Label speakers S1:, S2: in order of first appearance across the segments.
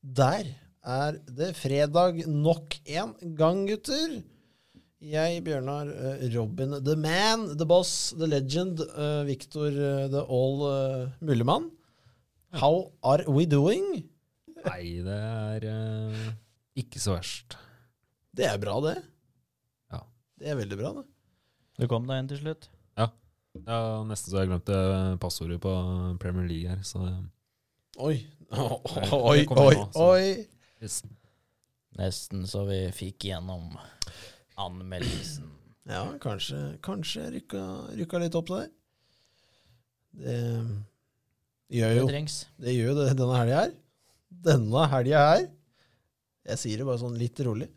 S1: der er det fredag nok en gang, gutter. Jeg, Bjørnar, eh, Robin, the man, the boss, the legend, eh, Victor, eh, the all eh, muligmann. How are we doing?
S2: Nei, det er eh, ikke så verst.
S1: Det er bra, det.
S2: Ja.
S1: Det er veldig bra, det.
S3: Du kom deg inn til slutt.
S2: Ja, nesten så jeg glemte eh, passordet på eh, Premier League her, så eh,
S1: Oi, oi,
S2: Det kommer
S1: oi,
S2: nå, altså. så-
S1: oi.
S3: Nesten så vi fikk gjennom anmeldelsen.
S1: Ja, kanskje, kanskje jeg rykka, rykka litt opp der. Det eh, gjør
S3: Det
S1: jo
S3: trengs.
S1: det gjør jo det denne helga her. Denne helga her. Jeg sier det bare sånn litt rolig.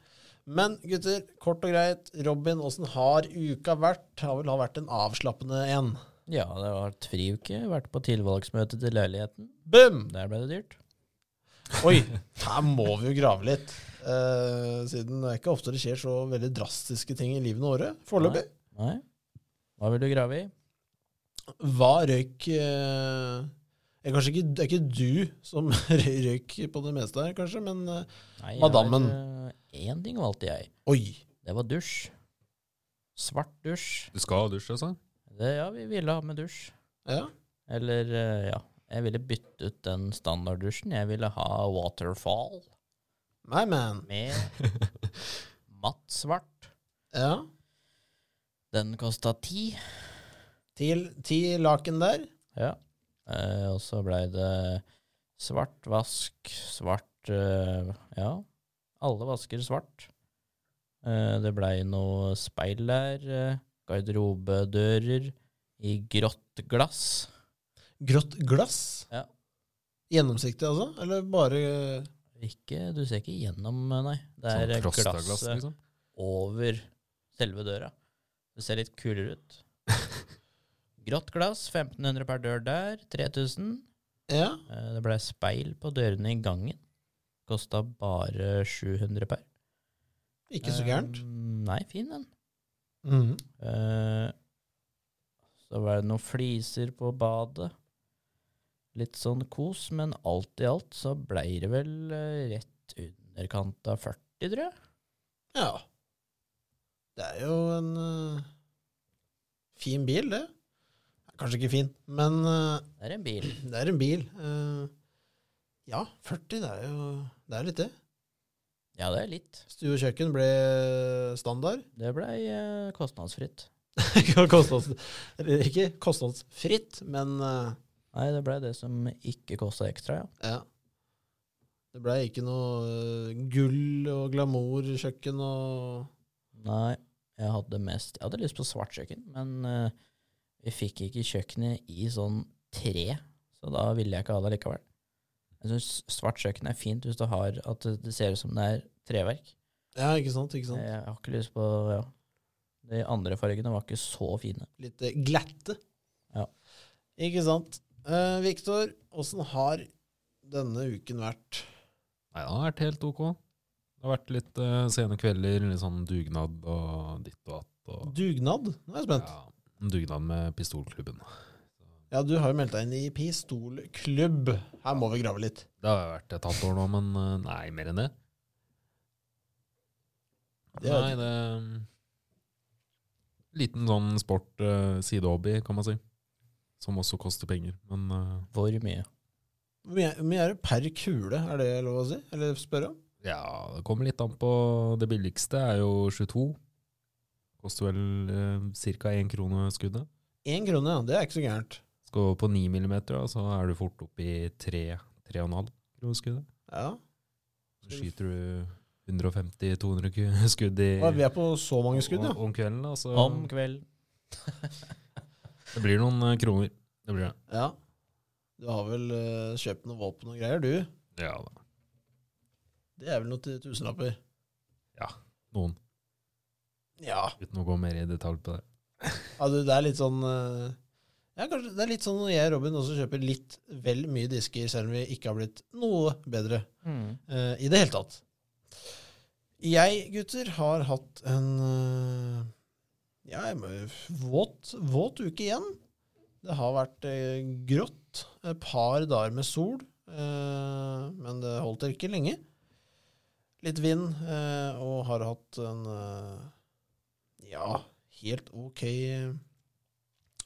S1: Men gutter, kort og greit. Robin, åssen har uka vært? Har vel ha vært en avslappende en.
S3: Ja, det har vært friuke. Vært på tilvalgsmøte til leiligheten.
S1: Boom!
S3: Der ble det dyrt.
S1: Oi, her må vi jo grave litt. Eh, siden det er ikke ofte det skjer så veldig drastiske ting i livene våre foreløpig.
S3: Nei. Hva vil du grave i?
S1: Hva røyk eh, er kanskje ikke, Det er ikke du som røy- røyk på det meste her, kanskje, men eh,
S3: Nei,
S1: Madammen.
S3: Én ting valgte jeg.
S1: oi.
S3: Det var dusj. Svart dusj.
S2: Du skal dusje, altså?
S3: Det, ja, vi ville ha med dusj.
S1: Ja.
S3: Eller, eh, ja. Jeg ville bytte ut den standarddusjen. Jeg ville ha waterfall
S1: My man.
S3: med matt svart.
S1: Ja.
S3: Den kosta ti.
S1: Til ti laken der.
S3: Ja. Eh, og så blei det svart vask, svart eh, Ja, alle vasker svart. Eh, det blei noe speil der. Eh, garderobedører i grått glass.
S1: Grått glass.
S3: Ja.
S1: Gjennomsiktig, altså? Eller bare eh,
S3: Ikke, du ser ikke gjennom, eh, nei. Det er eh,
S2: frostaglass,
S3: glasset
S2: Sånn liksom?
S3: over selve døra. Det ser litt kulere ut. Grått glass, 1500 per dør der. 3000.
S1: Ja.
S3: Eh, Det ble speil på dørene i gangen. Kosta bare 700 per.
S1: Ikke så gærent.
S3: Eh, nei, fin den.
S1: Mhm.
S3: Eh, så var det noen fliser på badet. Litt sånn kos, men alt i alt så blei det vel eh, rett underkant av 40, tror jeg.
S1: Ja. Det er jo en eh, fin bil, det. Kanskje ikke fin, men eh,
S3: Det er en bil.
S1: Det er en bil. eh, ja, 40, det er jo det er litt det.
S3: Ja, det er litt.
S1: Stue og kjøkken ble standard.
S3: Det blei eh, kostnadsfritt.
S1: Ikke Kostnads, eller ikke kostnadsfritt, men eh,
S3: Nei, det blei det som ikke kosta ekstra, ja.
S1: ja. Det blei ikke noe eh, gull og glamour-kjøkken og
S3: Nei, jeg hadde mest Jeg hadde lyst på svart kjøkken, men eh, vi fikk ikke kjøkkenet i sånn tre, så da ville jeg ikke ha det likevel. Jeg syns svart kjøkken er fint hvis du har at det- det ser ut som det er treverk.
S1: Ja, ikke sant? ikke sant?
S3: Jeg har ikke lyst på ja. De andre fargene var ikke så fine.
S1: Litt eh, glatte.
S3: Ja.
S1: Ikke sant. Uh, Viktor, åssen har denne uken vært?
S2: Nei, det har vært helt ok. Det har vært litt eh, sene kvelder, litt sånn dugnad og ditt og datt. Og,
S1: Dugnad? Nå er jeg spent.
S2: ja, en dugnad med pistolklubben.
S1: Ja, du har jo meldt deg inn i pistolklubb. Her må vi grave litt.
S2: Det har vært et halvt år nå, men eh, nei, mer enn det.
S1: Det er-
S2: nei, det eh, Liten sånn sport, eh, sidehobby, kan man si. Som også koster penger, men eh,
S3: Hvor mye?
S1: Hvor mye hvor mye er det per kule, er det lov å si? Eller spørre om?
S2: Ja, det kommer litt an på Det billigste er jo 22. Koster vel eh, ca. 1 krone skuddet.
S1: Én krone, ja. Det er ikke så gærent.
S2: Skal du på 9 millimeter, da, så er du fort oppe i 3 3,5 kroner skuddet.
S1: Ja.
S2: Så skyter du 150-200 ku- skudd i
S1: Å, Vi er på så mange skudd, ja.
S2: om om kvelden. Da, så
S3: Om kvelden.
S2: det blir noen eh, kroner. Det blir det.
S1: ja. Du har vel eh, kjøpt noe våpen og greier, du?
S2: Ja da.
S1: Det er vel noe til tusenlapper?
S2: Noen.
S1: Ja.
S2: Uten å gå mer i detalj på det.
S1: ja du, det er litt sånn eh, Ja, kanskje det er litt sånn når jeg og Robin også kjøper litt vel mye disker, selv om vi ikke har blitt noe bedre
S3: Mm.
S1: eh, i det hele tatt. Jeg, gutter, har hatt en eh, ja, jeg må, våt, våt uke igjen. Det har vært eh, grått, et par dager med sol. eh, Eh, men det holdt ikke lenge. Litt vind, eh, og har hatt en eh, ja, helt ok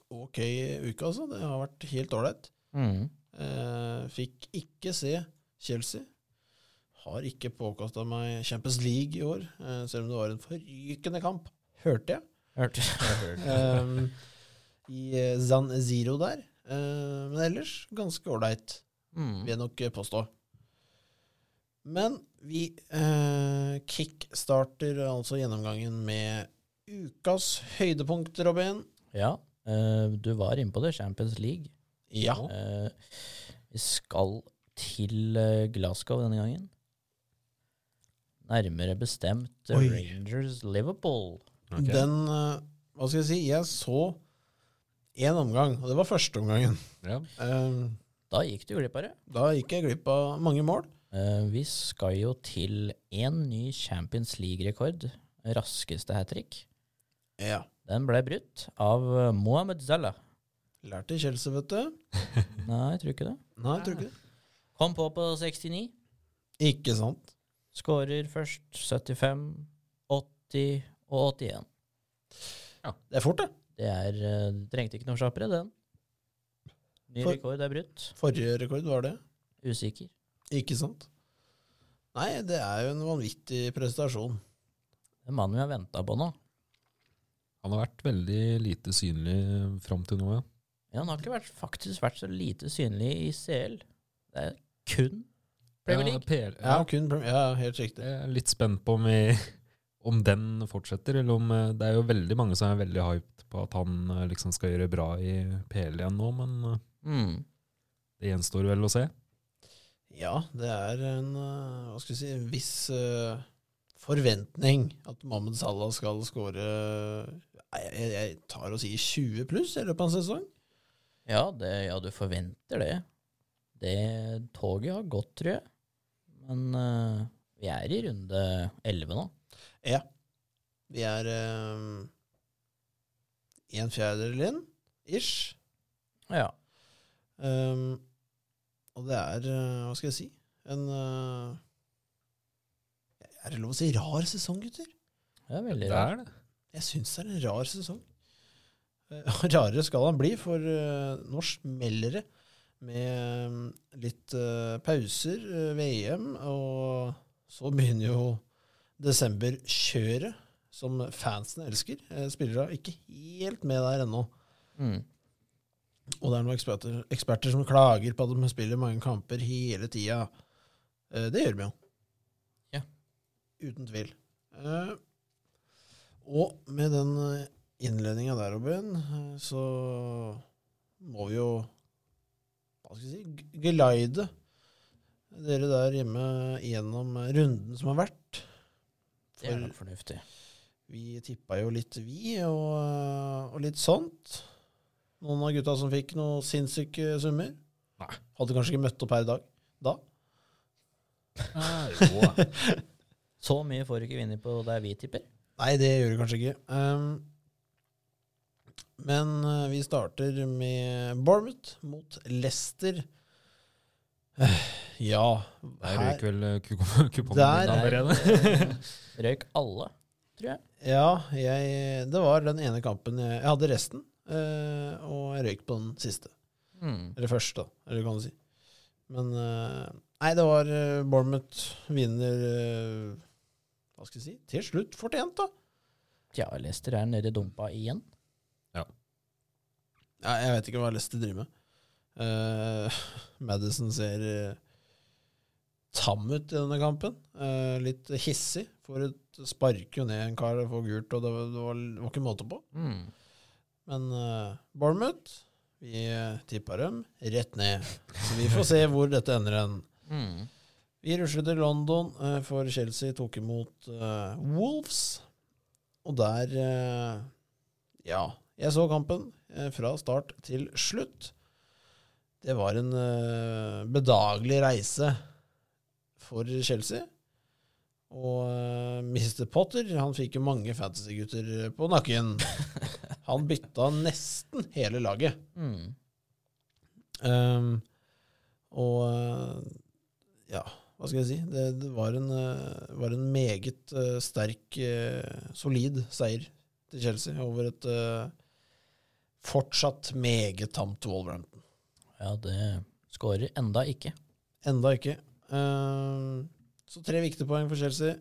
S1: ok uke, altså. Det har vært helt ålreit.
S3: Mm.
S1: Eh, fikk ikke se Chelsea. Har ikke påkasta meg Champions League i år, eh, selv om det var en forrykende kamp, hørte jeg.
S3: Hørte
S1: Ehm, I eh, Zan Ziro der. Eh, men ellers ganske ålreit, vil
S3: mm.
S1: jeg nok eh, påstå. Men vi eh, kickstarter altså gjennomgangen med ukas høydepunkt, Robin.
S3: Ja, eh, du var inne på det. Champions League.
S1: Ja.
S3: Eh, vi skal til eh, Glasgow denne gangen. Nærmere bestemt eh,
S1: Oi.
S3: Rangers Liverpool.
S2: Ok.
S1: Den eh, Hva skal jeg si? Jeg så én omgang, og det var første omgangen.
S2: Ja.
S1: Ehm,
S3: Da gikk du glipp av det.
S1: da gikk jeg glipp av mange mål.
S3: Eh, vi skal jo til en ny Champions League-rekord. Raskeste hat trick.
S1: Ja.
S3: Den ble brutt av eh, Mohamed Salah.
S1: Lærte i Chelsea, vet du.
S3: Nei, jeg tror ikke det.
S1: Nei, tror ikke det.
S3: Kom på på 69.
S1: Ikke sant.
S3: Skårer først 75, 80 og 81.
S1: Det er fort, det.
S3: Det er eh, det Trengte ikke noe kjappere, den. Ny
S1: For-
S3: rekord er brutt.
S1: Forrige rekord var det.
S3: Usikker.
S1: Ikke sant? Nei, det er jo en vanvittig prestasjon.
S3: Det er mannen vi har venta på nå.
S2: Han har vært veldig lite synlig eh, fram til nå, ja.
S3: Ja, han har ikke vært, faktisk vært så lite synlig i CL. Det er kun Premier
S2: Ja,
S3: League.
S2: PL,
S1: Ja,
S2: ja.
S1: kun Premier- ja helt riktig.
S2: Jeg er litt spent på om, vi, om den fortsetter, eller om eh, Det er jo veldig mange som er veldig hyped på at han eh, liksom skal gjøre bra i PL igjen nå, men eh,
S3: Mm.
S2: det gjenstår vel å se.
S1: Ja, det er en eh, hva skal vi si, en viss eh, forventning at Mohammed Salah skal skåre jeg, jeg tar og sier 20 pluss i løpet av en sesong.
S3: Ja, det, ja, du forventer det. Det toget har gått, tror jeg. Men eh, vi er i runde 11 nå.
S1: Vi er eh, en fjerdedel inn, ish.
S3: Ja.
S1: Um, og det er, eh, hva skal jeg si, en eh, Er det lov å si rar sesong, gutter?
S3: Det er veldig
S2: Det
S3: rart.
S2: er det.
S1: Jeg syns det er en rar sesong. Eh, Rarere skal han bli, for eh, nå smeller det med eh, litt eh, pauser eh, ved EM, og så begynner jo desemberkjøret, som fansen elsker. Eh, Spillere er ikke helt med der ennå.
S3: Mm.
S1: Og det er noen eksperter, eksperter som klager på at de spiller mange kamper hele tida. Eh, Det gjør de jo.
S3: Ja.
S1: Uten tvil. Eh, Og med den innledninga der, Robin, eh, så må vi jo hva skal jeg si, g- glide dere der hjemme gjennom runden som har vært.
S3: Det er
S1: For-
S3: nok fornuftig.
S1: vi tippa jo litt, vi, og, og litt sånt. Noen av gutta som fikk noen sinnssyke summer.
S2: Nei.
S1: Hadde kanskje ikke møtt opp her i dag. Da.
S2: jo.
S3: Så mye får du ikke vinne på der vi tipper.
S1: Nei, det gjør du kanskje ikke. Ehm, men eh, vi starter med Bournemouth mot Leicester. Eh, Ja
S2: Der
S1: her-
S2: røyk vel eh, kupong- kupongen
S1: Der
S2: min allerede.
S3: eh, Røyk alle.
S1: Ja, jeg, det var den ene kampen jeg, jeg hadde resten, eh, og jeg røyk på den siste.
S3: Mm.
S1: Eller første, da, eller hva kan du si. Men eh, Nei, det var eh, Bournemouth vinner eh, Hva skal jeg si? Til slutt fortjent, da.
S3: Ja, Lester er nede i dumpa igjen.
S1: Ja, jeg vet ikke hva Leicester driver med. Eh, Madison ser eh, tam ut i denne kampen. Eh, litt hissig. Får et sparker jo ned en kar og får gult, og det var, det var, det var ikke måte på.
S3: Mm.
S1: Men eh, Bournemouth, vi eh, tippa dem rett ned. Så vi får se hvor dette ender hen.
S3: Mm.
S1: Vi rusler til London, eh, for Chelsea tok imot eh, Wolves. Og der eh, Ja, jeg så kampen eh, fra start til slutt. Det var en eh, bedagelig reise for Chelsea. Og eh, Mr. Potter han fikk jo mange fantasygutter på nakken. Han bytta nesten hele laget.
S3: Mm.
S1: Ehm, Og eh, ja, hva skal jeg si? Det, det var, en, eh, var en meget eh, sterk, eh, solid seier til Chelsea over et eh, fortsatt meget tamt Wolverhampton.
S3: Ja, det skårer enda ikke.
S1: Enda ikke. Eh, så tre viktige poeng for Chelsea.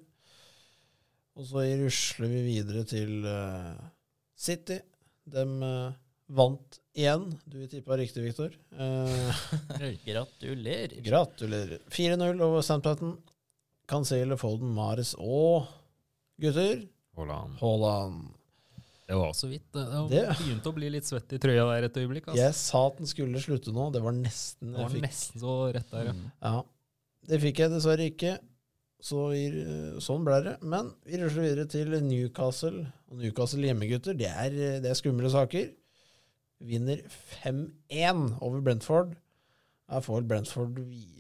S1: Og så rusler vi videre til eh, City. De vant igjen. Du tippa riktig, Victor. Eh,
S3: Gratulerer.
S1: Gratulerer. 4-0 over Sandplatten. Cancele, Foden, Mares og gutter
S2: Haaland.
S1: Haaland.
S2: Det var så vidt. Det, eh, det,
S1: Det-
S2: begynte å bli litt svett i trøya der et øyeblikk. Altså.
S1: Jeg sa at den skulle slutte nå. Det var nesten
S2: Det
S1: jeg
S2: var
S1: fikk.
S2: nesten så rett der, ja.
S3: Mm.
S1: Ja. Det fikk jeg dessverre ikke. Så vi, sånn ble det. Men vi rusler videre til Newcastle. Og Newcastle hjemmegutter, det er, det er skumle saker. Vinner 5-1 over Brentford. Her får Brentford vi-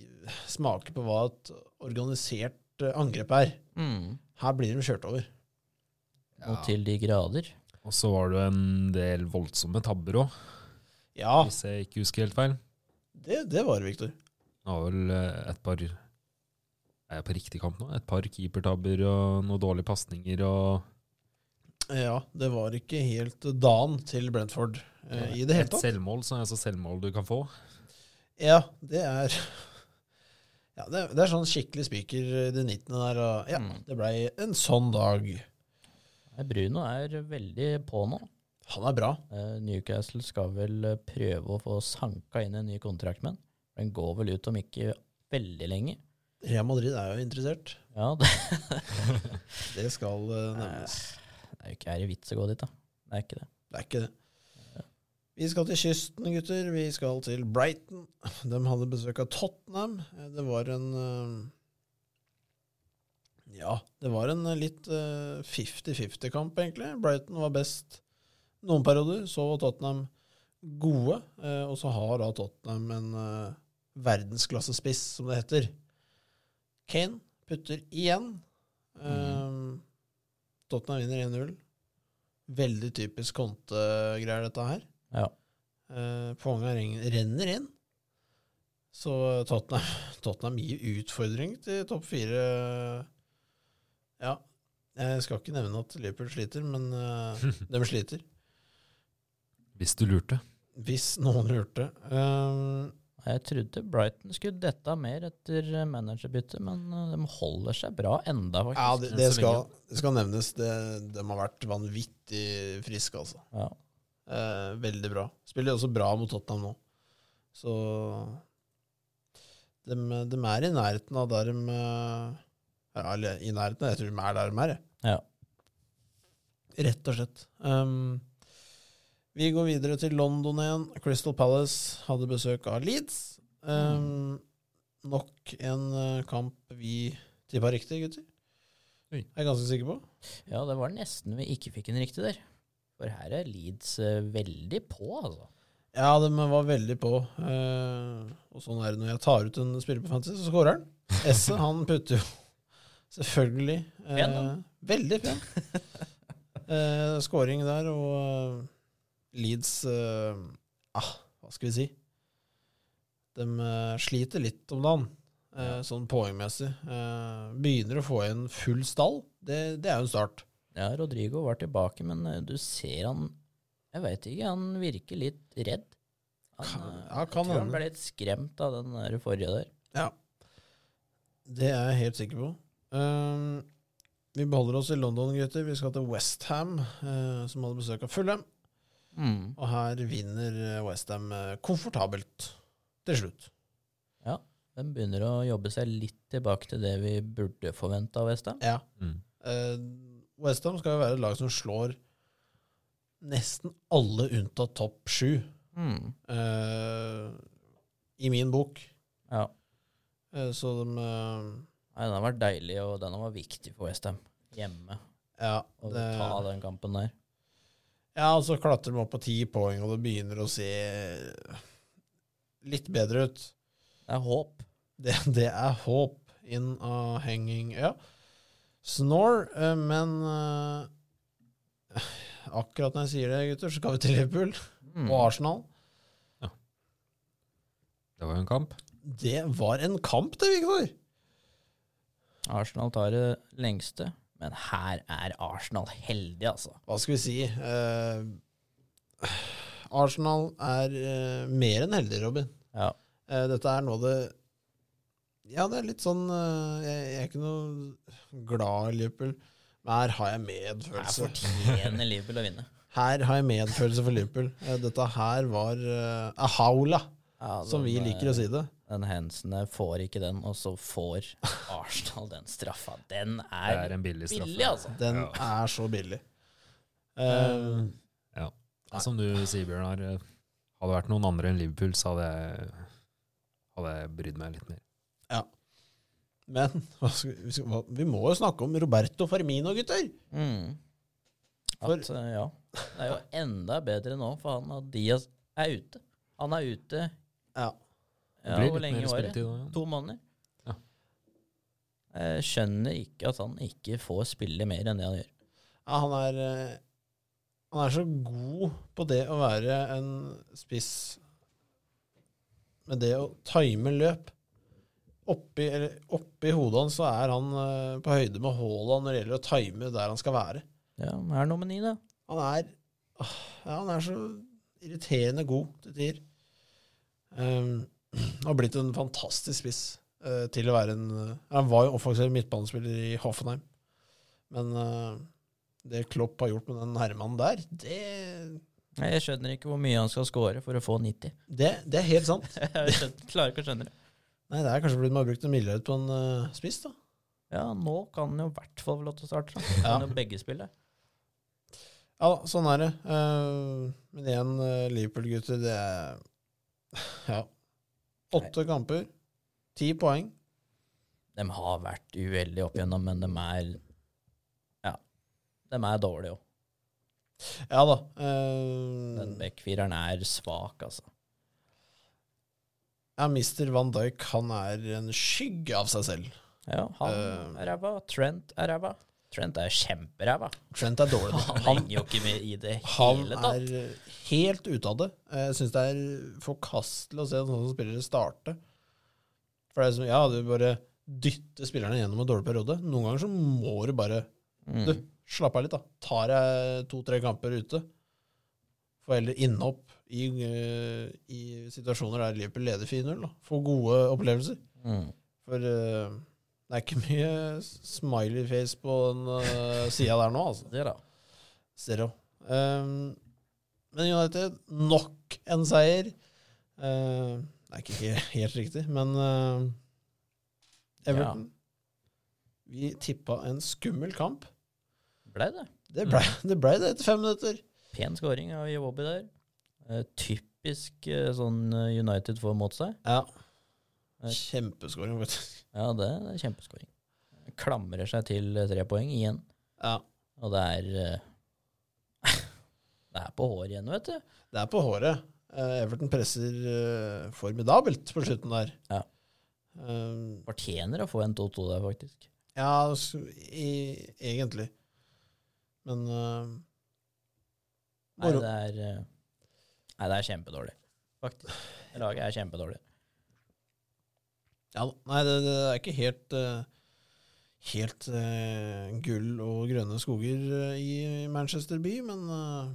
S1: smake på hva et organisert eh, angrep er.
S3: Mm.
S1: Her blir de kjørt over.
S3: Og til de grader.
S2: Og så var det en del voldsomme tabber òg,
S1: Ja,
S2: hvis jeg ikke husker helt feil.
S1: det, det var det, Viktor.
S2: Det var vel eh, et par Er jeg på riktig kamp nå? Et par keepertabber og noen dårlige pasninger og
S1: Ja, det var ikke helt dagen til Brentford eh, i det hele
S2: Et
S1: tatt.
S2: selvmål, så er det så selvmål du kan få.
S1: Ja, det er ja, det, det er sånn skikkelig spiker i det 19. der. Og, ja,
S3: Mm.
S1: det blei en sånn dag.
S3: Nei, Bruno er veldig på nå.
S1: Han er bra.
S3: Eh, Newcastle skal vel eh, prøve å få sanka inn en ny kontrakt med han. Den går vel ut om ikke veldig lenge.
S1: Real Madrid er jo interessert.
S3: Ja, det,
S1: Det skal eh, nevnes.
S3: det er jo ikke er i vits å gå dit, da. Det er ikke det.
S1: Det er ikke det. Vi skal til kysten, gutter. Vi skal til Brighton. De hadde besøk av Tottenham. Eh, Det var en eh, Ja, det var en eh, litt eh, 50-50-kamp, egentlig. Brighton var best noen perioder. Så var Tottenham gode. eh, Og så har da Tottenham en eh, verdensklassespiss, som det heter. Kane putter igjen. Eh, Tottenham vinner 1-0. Veldig typisk kontegreier, dette her.
S3: Ja.
S1: Eh, Ponga ring- renner inn. Så Tottenham, Tottenham gir utfordring til topp fire. Ja, jeg skal ikke nevne at Liverpool sliter, men eh, de sliter.
S2: Hvis du lurte.
S1: Hvis noen lurte. Eh,
S3: Nei, Jeg trodde Brighton skulle dette av mer etter eh, managerbyttet, men eh, de holder seg bra enda,
S1: ja,
S3: faktisk.
S1: det, det, skal, det skal nevnes. Det, de har vært vanvittig friske, altså.
S3: Ja.
S1: Eh, veldig bra. Spiller også bra mot Tottenham nå. Så de, er i nærheten av der de eh, ja, Eller i nærheten, jeg tror de er der de er. jeg.
S3: Ja.
S1: Rett og slett. Um, vi går videre til London igjen. Crystal Palace hadde besøk av Leeds. Um, Nok en eh, kamp vi tippa riktig, gutter.
S2: Oi.
S1: Jeg er ganske sikker på.
S3: ja, det var nesten vi ikke fikk en riktig der. For her er Leeds eh, veldig på, altså.
S1: Ja, de var veldig på. eh, og sånn er det når jeg tar ut en spiller på Fantasy, så scorer han. Esse, han putter jo selvfølgelig eh,
S3: Pen, da.
S1: Veldig pen. Eh, scoring der, og eh, Leeds eh, ah, Hva skal vi si? De eh, sliter litt om dagen, eh, sånn poengmessig. Eh, begynner å få igjen full stall. Det, det er jo en start.
S3: Ja, Rodrigo var tilbake, men eh, du ser han Jeg veit ikke, han virker litt redd. Han,
S1: Kan-
S3: eh,
S1: ja, kan
S3: jeg tror han
S1: hende.
S3: ble litt skremt av den der forrige der.
S1: Det er jeg helt sikker på. Ehm, vi beholder oss i London, gutter. Vi skal til Westham, uh, som hadde besøk av Fulham. Og her vinner eh, Westham komfortabelt til slutt.
S3: De begynner å jobbe seg litt tilbake til det vi burde forvente av Westham.
S1: Ja.
S2: Mm.
S1: Westham Eh, skal jo være et lag som slår nesten alle unntatt topp sju, Mm. eh, i min bok.
S3: Ja.
S1: Eh, så de eh,
S3: Nei, den var deilig, og den var viktig for Westham. Hjemme.
S1: Ja.
S3: Å
S1: det-
S3: ta den kampen der.
S1: Ja, og så klatrer de opp på ti poeng, og det begynner å se litt bedre ut.
S3: Det er håp.
S1: Det, det er håp in a hanging Ja. Snore, eh, men eh, akkurat når jeg sier det, gutter, så Mm.
S3: Mm.
S1: skal vi til Liverpool og Arsenal.
S2: Det var jo en kamp.
S1: Det var en kamp, det, Viktor!
S3: Arsenal tar det lengste, men her er Arsenal heldig, altså.
S1: Hva skal vi si? Eh, Arsenal er eh, mer enn heldig, Robin.
S3: Ja.
S1: Eh, dette er noe av det Ja, det er litt sånn eh, jeg, jeg er ikke noe glad i Liverpool, men her har jeg
S3: Her
S1: medfølelse.
S3: fortjener Liverpool å vinne.
S1: Her har jeg medfølelse for Liverpool. Eh, dette her var eh, ahaula,
S3: Ja,
S1: som vi
S3: den,
S1: liker å si det.
S3: eh, Den Hensene får ikke den, og så får Arsenal den straffa. Den
S2: Det
S3: er,
S2: er en billig straffe.
S3: billig, altså.
S1: Den
S2: Ja.
S1: er så billig. Eh,
S2: Ja. Som du sier, Bjørnar, eh, hadde det vært noen andre enn Liverpool, så hadde jeg, hadde jeg brydd meg litt mer.
S1: men hva skal, vi- vi skal- hva- vi må jo snakke om Roberto Fermino, gutter!
S3: Mm. At, eh, ja. Det er jo enda bedre nå, for han og Diaz er ute. Han er ute
S1: Ja.
S3: ja,
S2: blir
S3: hvor
S2: litt
S3: lenge
S2: mer
S3: var det?
S2: spilletid da, ja.
S3: To måneder?
S2: Ja.
S3: Jeg skjønner ikke at han ikke får spille mer enn det han gjør.
S1: Ja, han er eh, Han er så god på det å være en spiss med det å time løp. Oppi, eller, oppi hodet hans så er han eh, på høyde med Haaland når det gjelder å time der han skal være.
S3: Ja, han er nummer ni, da.
S1: Han er åh, Ja, han er så irriterende god til tider. Um, har blitt en fantastisk spiss eh, til å være en eh, Han var jo offensiv midtbanespiller i Hoffenheim, men eh, det Klopp har gjort med den herremannen der, det,
S3: Nei, Jeg skjønner ikke hvor mye han skal score for å få 90.
S1: det, det er helt sant.
S3: Jeg skjønner, klarer ikke å skjønne det.
S1: Nei, det er kanskje fordi de har brukt en milliard på en eh, spiss, da.
S3: Ja, nå kan han jo i hvert fall få lov til å starte. Sånn.
S1: Ja.
S3: Kan jo begge spille.
S1: Ja da, sånn er det. Eh, men igjen, eh, Liverpool-gutter, det er Ja. Åtte kamper, ti poeng.
S3: De har vært uheldige opp igjennom, men de er Ja. De er dårlige òg.
S1: Ja da. eh,
S3: Den backfireren er svak, altså.
S1: Ja, Mr. Van Dijk han er en skygge av seg selv.
S3: Ja, han
S1: Eh.
S3: er ræva. Trent er ræva. Trent er kjemperæva.
S1: Trent er dårlig.
S3: Han,
S1: Han,
S3: henger jo ikke med i det
S1: han
S3: hele tatt.
S1: er helt ute av det. Jeg syns det er forkastelig å se sånne spillere starte. For det er som, ja, du bare dytter spillerne gjennom en dårlig periode. Noen ganger så må du bare Du,
S3: Mm.
S1: slapp av litt, da. Tar jeg to-tre kamper ute. Får heller innhopp i, eh, i situasjoner der Liverpool leder 4-0. da. Får gode opplevelser.
S3: Mm.
S1: For eh, det er ikke mye smiley face på den uh, sida der nå, altså.
S3: Det, da.
S1: Zero. Ehm, men United, nok en seier. Eh, det er ikke he- helt riktig, men eh, Everton Vi tippa en skummel kamp.
S3: Blei det.
S1: Det blei det, ble det etter fem minutter.
S3: Pen scoring av Jobbi der. Eh, typisk eh, sånn eh, United får mot seg.
S1: Ja. Kjempeskåring, faktisk.
S3: Ja, det er kjempeskåring. Klamrer seg til eh, tre poeng igjen.
S1: Ja.
S3: Og det er eh, Det er på håret igjen, vet du.
S1: Det er på håret. Eh, Everton presser eh, formidabelt på slutten der.
S3: Ja.
S1: Ehm,
S3: Fortjener å få en 2-2 der, faktisk.
S1: Ja, altså, i, egentlig. Men øh,
S3: Nei,
S1: Moro.
S3: det er eh, Nei, det er kjempedårlig, faktisk. Laget er kjempedårlig.
S1: ja, Nei, det, det er ikke helt øh, Helt øh, gull og grønne skoger øh, i Manchester by, men øh,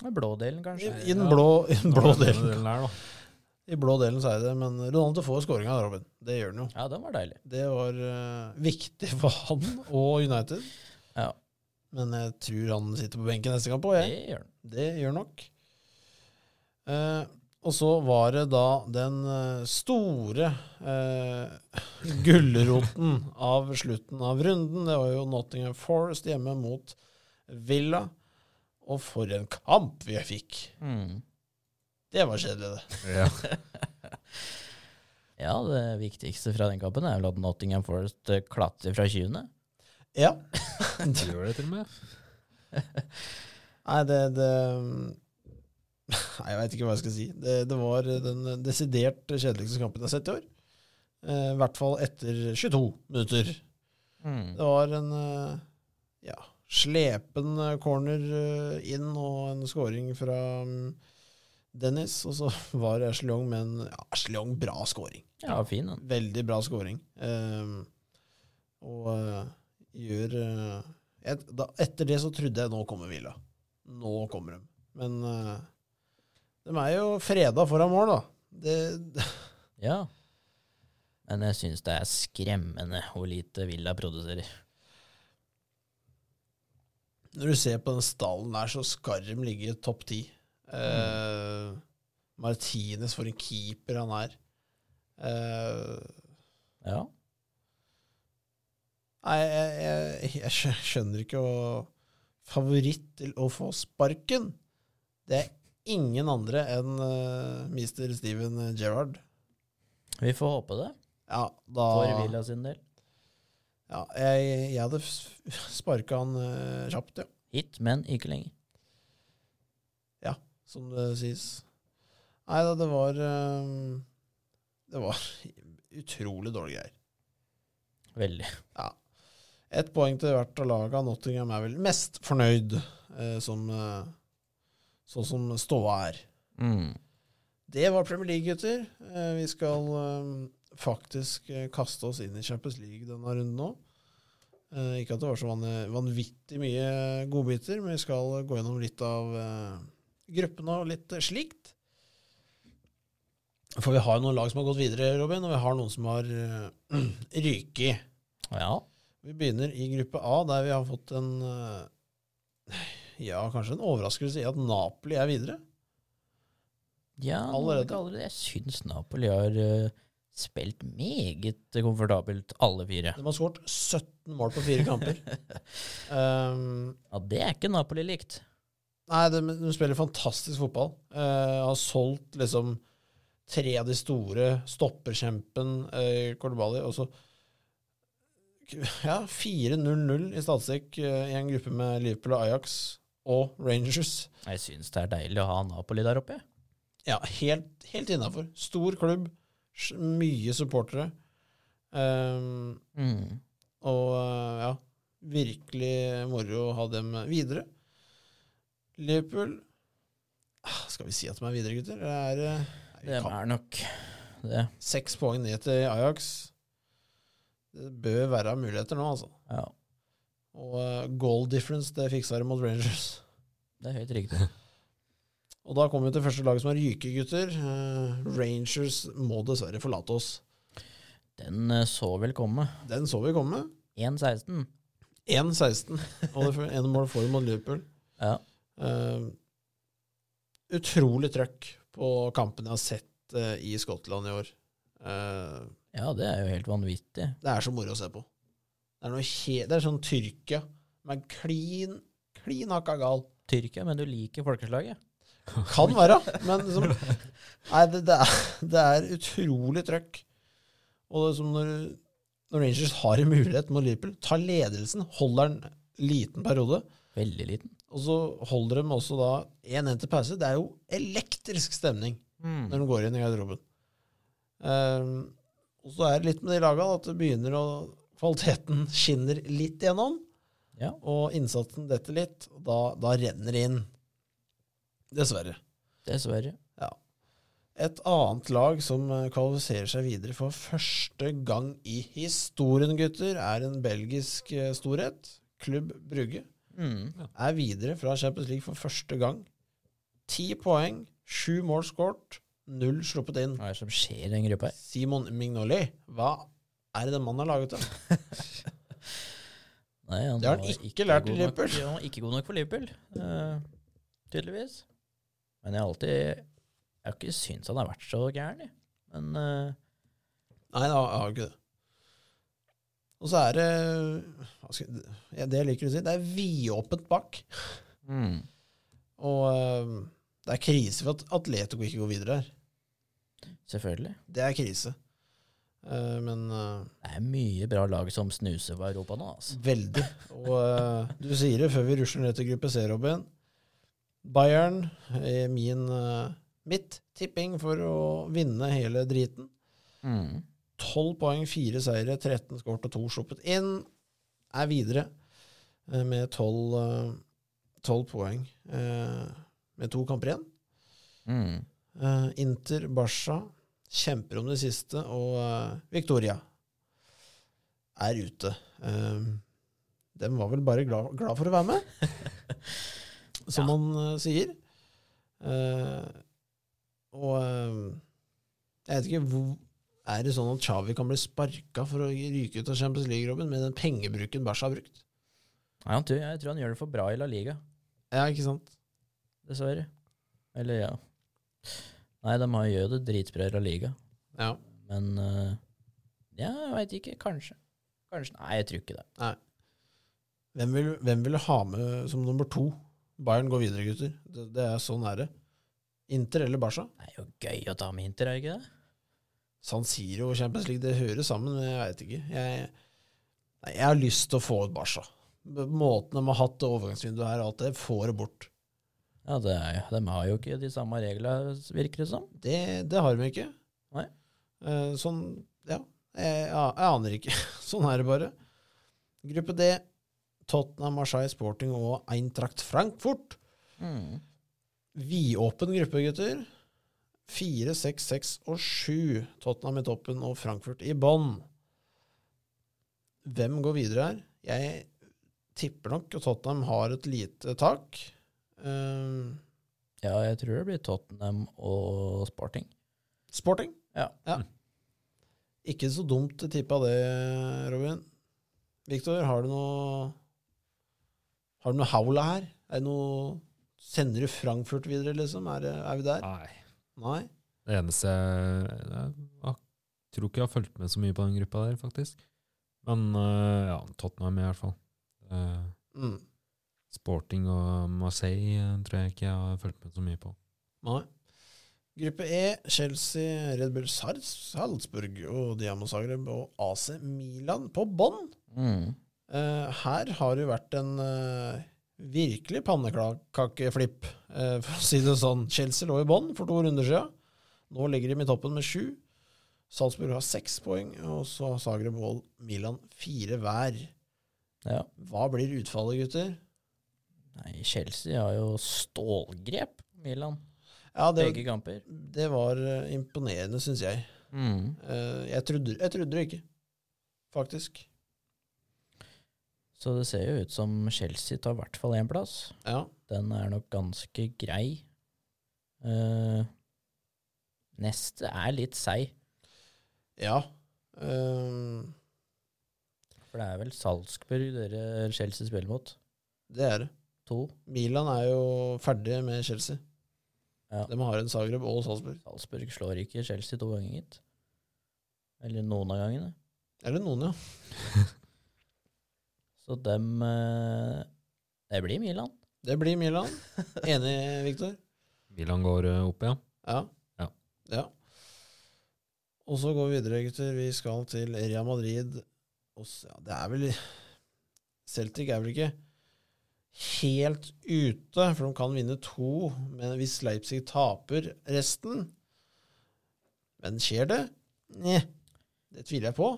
S3: Det er Blådelen,
S1: i,
S3: kanskje.
S1: i, den
S2: Ja.
S1: blå, i den blå
S2: Det var denne
S1: delen.
S2: her, da.
S1: I blå delen så er det Men Ronaldo får skåringa, Robin. Det gjør han jo.
S3: Ja, den var deilig.
S1: Det var øh, viktig for han og United.
S3: Ja.
S1: Men jeg tror han sitter på benken neste kamp òg,
S3: Det
S1: jeg.
S3: gjør den.
S1: Det gjør nok. Eh, og så var det da den eh, store eh, gulroten av slutten av runden. Det var jo Nottingham Forest hjemme mot Villa. Og for en kamp vi fikk!
S3: Mm.
S1: Det var kjedelig, det.
S2: Ja.
S3: Ja, det viktigste fra den kampen er vel at Nottingham Forest eh, klatrer fra 20.
S1: Ja.
S2: De gjør det til og med.
S1: Nei, det, det Nei, jeg veit ikke hva jeg skal si. Det, det var den desidert kjedeligste kampen jeg har sett i år. Eh, I hvert fall etter 22 minutter.
S3: Mm.
S1: Det var en eh, ja, slepen eh, corner eh, inn og en scoring fra mm, Dennis, og så var Ashley med en ja, Ashley bra scoring.
S3: Ja, fin den.
S1: Veldig bra scoring. Ehm, og eh, gjør eh, et, da, Etter det så trodde jeg nå kommer Villa. Nå kommer de. Men eh, de er jo freda foran mål, da. Det,
S3: Ja. Men jeg syns det er skremmende hvor lite Villa produserer.
S1: når du ser på den stallen der, så skal de ligge i topp ti. Eh, Martinez, for en keeper han er. Eh,
S3: Ja.
S1: Nei, jeg, jeg, jeg skjø- skjønner ikke å Favoritt til å få sparken, det er ingen andre enn eh, Mr. Steven Gerrard.
S3: Vi får håpe det,
S1: Ja, da
S3: for Villa sin del.
S1: ja, jeg, jeg hadde sparka han eh, kjapt, ja.
S3: Hit, men ikke lenger.
S1: Som det sies. Nei da, det var eh, Det var utrolig dårlige greier.
S3: Veldig.
S1: Ett poeng til hvert av laga. Nottingham er vel mest fornøyd, eh, som, eh, sånn som ståa er.
S3: Mm.
S1: Det var Premier League, gutter. Eh, Vi skal eh, faktisk eh, kaste oss inn i Champions League denne runden nå. Eh, Ikke at det var så vann- vanvittig mye godbiter, men vi skal eh, gå gjennom litt av eh, gruppene og litt eh, slikt. For vi har jo noen lag som har gått videre, Robin, og vi har noen som har eh, ryket.
S3: Ja.
S1: Vi begynner i gruppe A, der vi har fått en eh, Ja, kanskje en overraskelse i at Napoli er videre.
S3: ja
S1: Allerede.
S3: ikke allerede. Jeg syns Napoli har eh, spilt meget komfortabelt, alle fire.
S1: De har skåret 17 mål på fire kamper. um,
S3: Ja, Det er ikke Napoli likt.
S1: nei, de, de spiller fantastisk fotball. Uh, har solgt liksom tre av de store. Stopperkjempen uh, Kordobali. Og så ja, 4-0-0 i statistikk eh, i en gruppe med Liverpool og Ajax og Rangers.
S3: Jeg syns det er deilig å ha Napoli der oppe.
S1: Ja, helt, helt innafor. Stor klubb, s- mye supportere. Um,
S3: Mm.
S1: Og eh, ja, virkelig moro å ha dem videre. Liverpool Ah, Skal vi si at de er videre, gutter? Det er, eh, nei, vi
S3: Det
S1: kan-
S3: er nok det.
S1: seks poeng ned til Ajax. Det bør være muligheter nå, altså.
S3: Ja,
S1: Og eh, goal difference, det fiksa de mot Rangers.
S3: det er helt riktig.
S1: Og da kommer vi til første laget som har ryke, gutter. Eh, Rangers må dessverre forlate oss.
S3: Den eh, så vel komme.
S1: Den så vi komme.
S3: 1-16.
S1: 1-16, og det ene målet får de mot Liverpool.
S3: Ja.
S1: Eh, utrolig trøkk på kampen jeg har sett eh, i Skottland i år. Eh,
S3: ja, det er jo helt vanvittig.
S1: det er så moro å se på. Det er, noe he det er sånn Tyrkia men klin, klin hakka gal.
S3: Tyrkia, men du liker folkeslaget.
S1: Kan være, men liksom, nei, det, det, er, det er utrolig trøkk. Og det er som når, når Rangers har en mulighet mot Liverpool, tar ledelsen, holder en liten periode,
S3: Veldig liten.
S1: og så holder de også da 1-1 til pause. Det er jo elektrisk stemning.
S3: Mm.
S1: når de går inn i garderoben. Ehm, og så er det litt med de laga at det begynner å Kvaliteten skinner litt gjennom,
S3: Ja.
S1: og innsatsen detter litt. og Da, da renner det inn. Dessverre.
S3: Dessverre.
S1: Et annet lag som eh, kvalifiserer seg videre for første gang i historien, gutter, er en belgisk eh, storhet. Klubb Brugge
S3: Mm.
S1: er videre fra Champions League for første gang. Ti poeng, sju mål skåret, null sluppet inn.
S3: Hva er det som skjer i den gruppa her?
S1: Simon Mignoli, hva er det den mannen har laget? da?
S3: Nei,
S1: Det har han
S3: var
S1: ikke lært i
S3: god nok-
S1: Liverpool.
S3: Han var ikke god nok for Liverpool, eh, tydeligvis. Men jeg har alltid Jeg har ikke syntes han har vært så gæren, jeg. Men eh,
S1: Nei, det har har ikke det. Og så er det hva skal, jeg- ja, Det jeg liker å si, det er vidåpent bak.
S3: mm.
S1: Og eh, det er krise for at Atletico ikke går videre her.
S3: selvfølgelig.
S1: Det er krise. Eh, men eh,
S3: Det er mye bra lag som snuser på Europa nå, altså.
S1: veldig. Og eh, du sier det før vi rusler ned til gruppe C, Robin. Bayern er min, eh, mitt tipping for å vinne hele driten.
S3: Mm.
S1: 12 poeng, 4 seire, 13 skåret og 2 sluppet inn. Er videre eh, med 12, eh, 12 poeng eh, med to kamper igjen.
S3: Mm.
S1: Eh, Inter, Barca kjemper om det siste, og eh, Victoria er ute. Eh, dem var vel bare glad, glad for å være med, som man eh, sier. Eh, og eh, jeg vet ikke hvor Er det sånn at Xavi kan bli sparka for å ryke ut av Champions League-jobben med den pengebruken Barca har brukt?
S3: Nei, han tror, jeg tror han gjør det for bra i La Liga,
S1: Ja, ikke sant?
S3: dessverre. Eller ja. Nei, de har- gjør det dritbra i La Liga,
S1: Ja.
S3: men eh, Ja, jeg veit ikke. Kanskje. Kanskje. Nei, jeg tror ikke det.
S1: Hvem vil, hvem vil ha med som nummer to? Bayern går videre, gutter. Det, det er sånn er det. Inter eller Barca?
S3: Det er jo gøy å ta med Inter, er det ikke det?
S1: San Siro og Champions League, det hører sammen, men jeg veit ikke. Jeg, nei, jeg har lyst til å få ut Barca. B- Måten de har hatt det overgangsvinduet her, alt det, får det bort.
S3: Ja, det er, De har jo ikke de samme reglene, virker det som.
S1: Det, det har de ikke.
S3: Nei.
S1: Eh, sånn, ja. Jeg, jeg, aner ikke. sånn er det bare. Gruppe D. Tottenham, Marseille Sporting og Eintracht Frankfurt. Vidåpen gruppe, gutter. Fire, seks, seks og sju. Tottenham i toppen og Frankfurt i bånn. Hvem går videre her? Jeg tipper nok at Tottenham har et lite tak. Ehm,
S3: Ja, jeg tror det blir Tottenham og Sporting.
S1: sporting?
S3: Ja.
S1: Ikke så dumt tippa det, Robin. Viktor, har du noe Har du noe haula her? Er det noe Sender du Frankfurt videre, liksom? Er, det, er vi der?
S2: Nei.
S1: Nei?
S2: Det eneste jeg, jeg tror ikke jeg har fulgt med så mye på den gruppa der, faktisk. Men eh, ja, Tottenham i hvert fall. Eh,
S1: Mm.
S2: Sporting og Marseille eh, tror jeg ikke jeg har fulgt med så mye på.
S1: Nei. Gruppe E, Chelsea, Red Bull Sars- Salzburg og Diamo Zagreb og AC Milan på bånn.
S3: Mm.
S1: Eh, her har det jo vært en eh, virkelig pannekakeflipp, eh, for å si det sånn. Chelsea lå i bånn for to runder siden. Nå ligger de i toppen med sju. Salzburg har seks poeng, og så har Zagreb og Milan fire hver.
S3: Ja.
S1: Hva blir utfallet, gutter?
S3: Nei, Chelsea har jo stålgrep på Milan,
S1: Ja, det,
S3: begge kamper.
S1: det var eh, imponerende, syns jeg.
S3: Mm.
S1: Eh, jeg, trodde, jeg trodde det ikke, faktisk.
S3: Så det ser jo ut som Chelsea tar i hvert fall én plass.
S1: Ja.
S3: Den er nok ganske grei. Eh, neste er litt seig,
S1: ja. Ehm,
S3: for det er vel Salzburg dere Chelsea spiller mot.
S1: det er det.
S3: To.
S1: Milan er jo ferdig med Chelsea.
S3: Ja.
S1: De har en Zagreb og Salzburg.
S3: Salzburg slår ikke Chelsea to ganger, gitt. Eller noen av gangene.
S1: Eller noen, ja.
S3: Så dem eh, Det blir Milan.
S1: Det blir Milan. Enig, Viktor?
S2: Milan går eh, opp, ja.
S1: Ja.
S2: Ja.
S1: ja. Og så går vi videre, gutter. Vi skal til Real Madrid. Og s- ja, det er vel Celtic er vel ikke helt ute, for de kan vinne to men hvis Leipzig taper resten. Men skjer det? Nei, det tviler jeg på.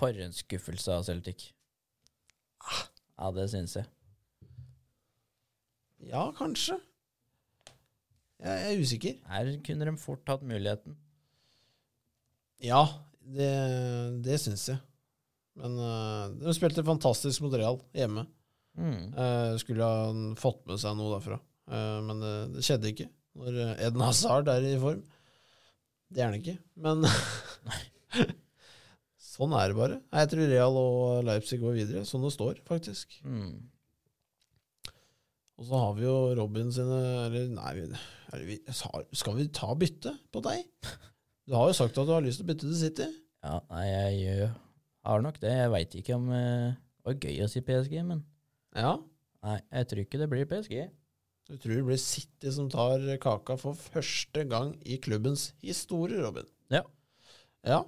S3: For en skuffelse av Celtic. Ja, det syns jeg.
S1: Ja, kanskje. Jeg er usikker.
S3: Her kunne de fort hatt muligheten.
S1: Ja, det, det syns jeg. Men øh, de spilte fantastisk mot Real hjemme.
S3: Mm.
S1: Eh, skulle han fått med seg noe derfra. Eh, men det, det skjedde ikke. Når eh, Eden Hazard er i form. Det er han ikke, men Sånn er det bare. Nei, Jeg tror Real og Leipzig går videre, sånn det står, faktisk.
S3: Mm.
S1: Og så har vi jo Robin sine Eller nei, vi, eller vi, sa- skal vi ta bytte på deg? Du har jo sagt at du har lyst til å bytte til City.
S3: Ja, nei, jeg gjør- har nok det. Jeg veit ikke om eh, Det var gøy å si PSG, men
S1: Ja.
S3: nei, jeg tror ikke det blir PSG.
S1: Du tror det blir City som tar kaka for første gang i klubbens historie, Robin.
S3: Ja.
S1: Ja.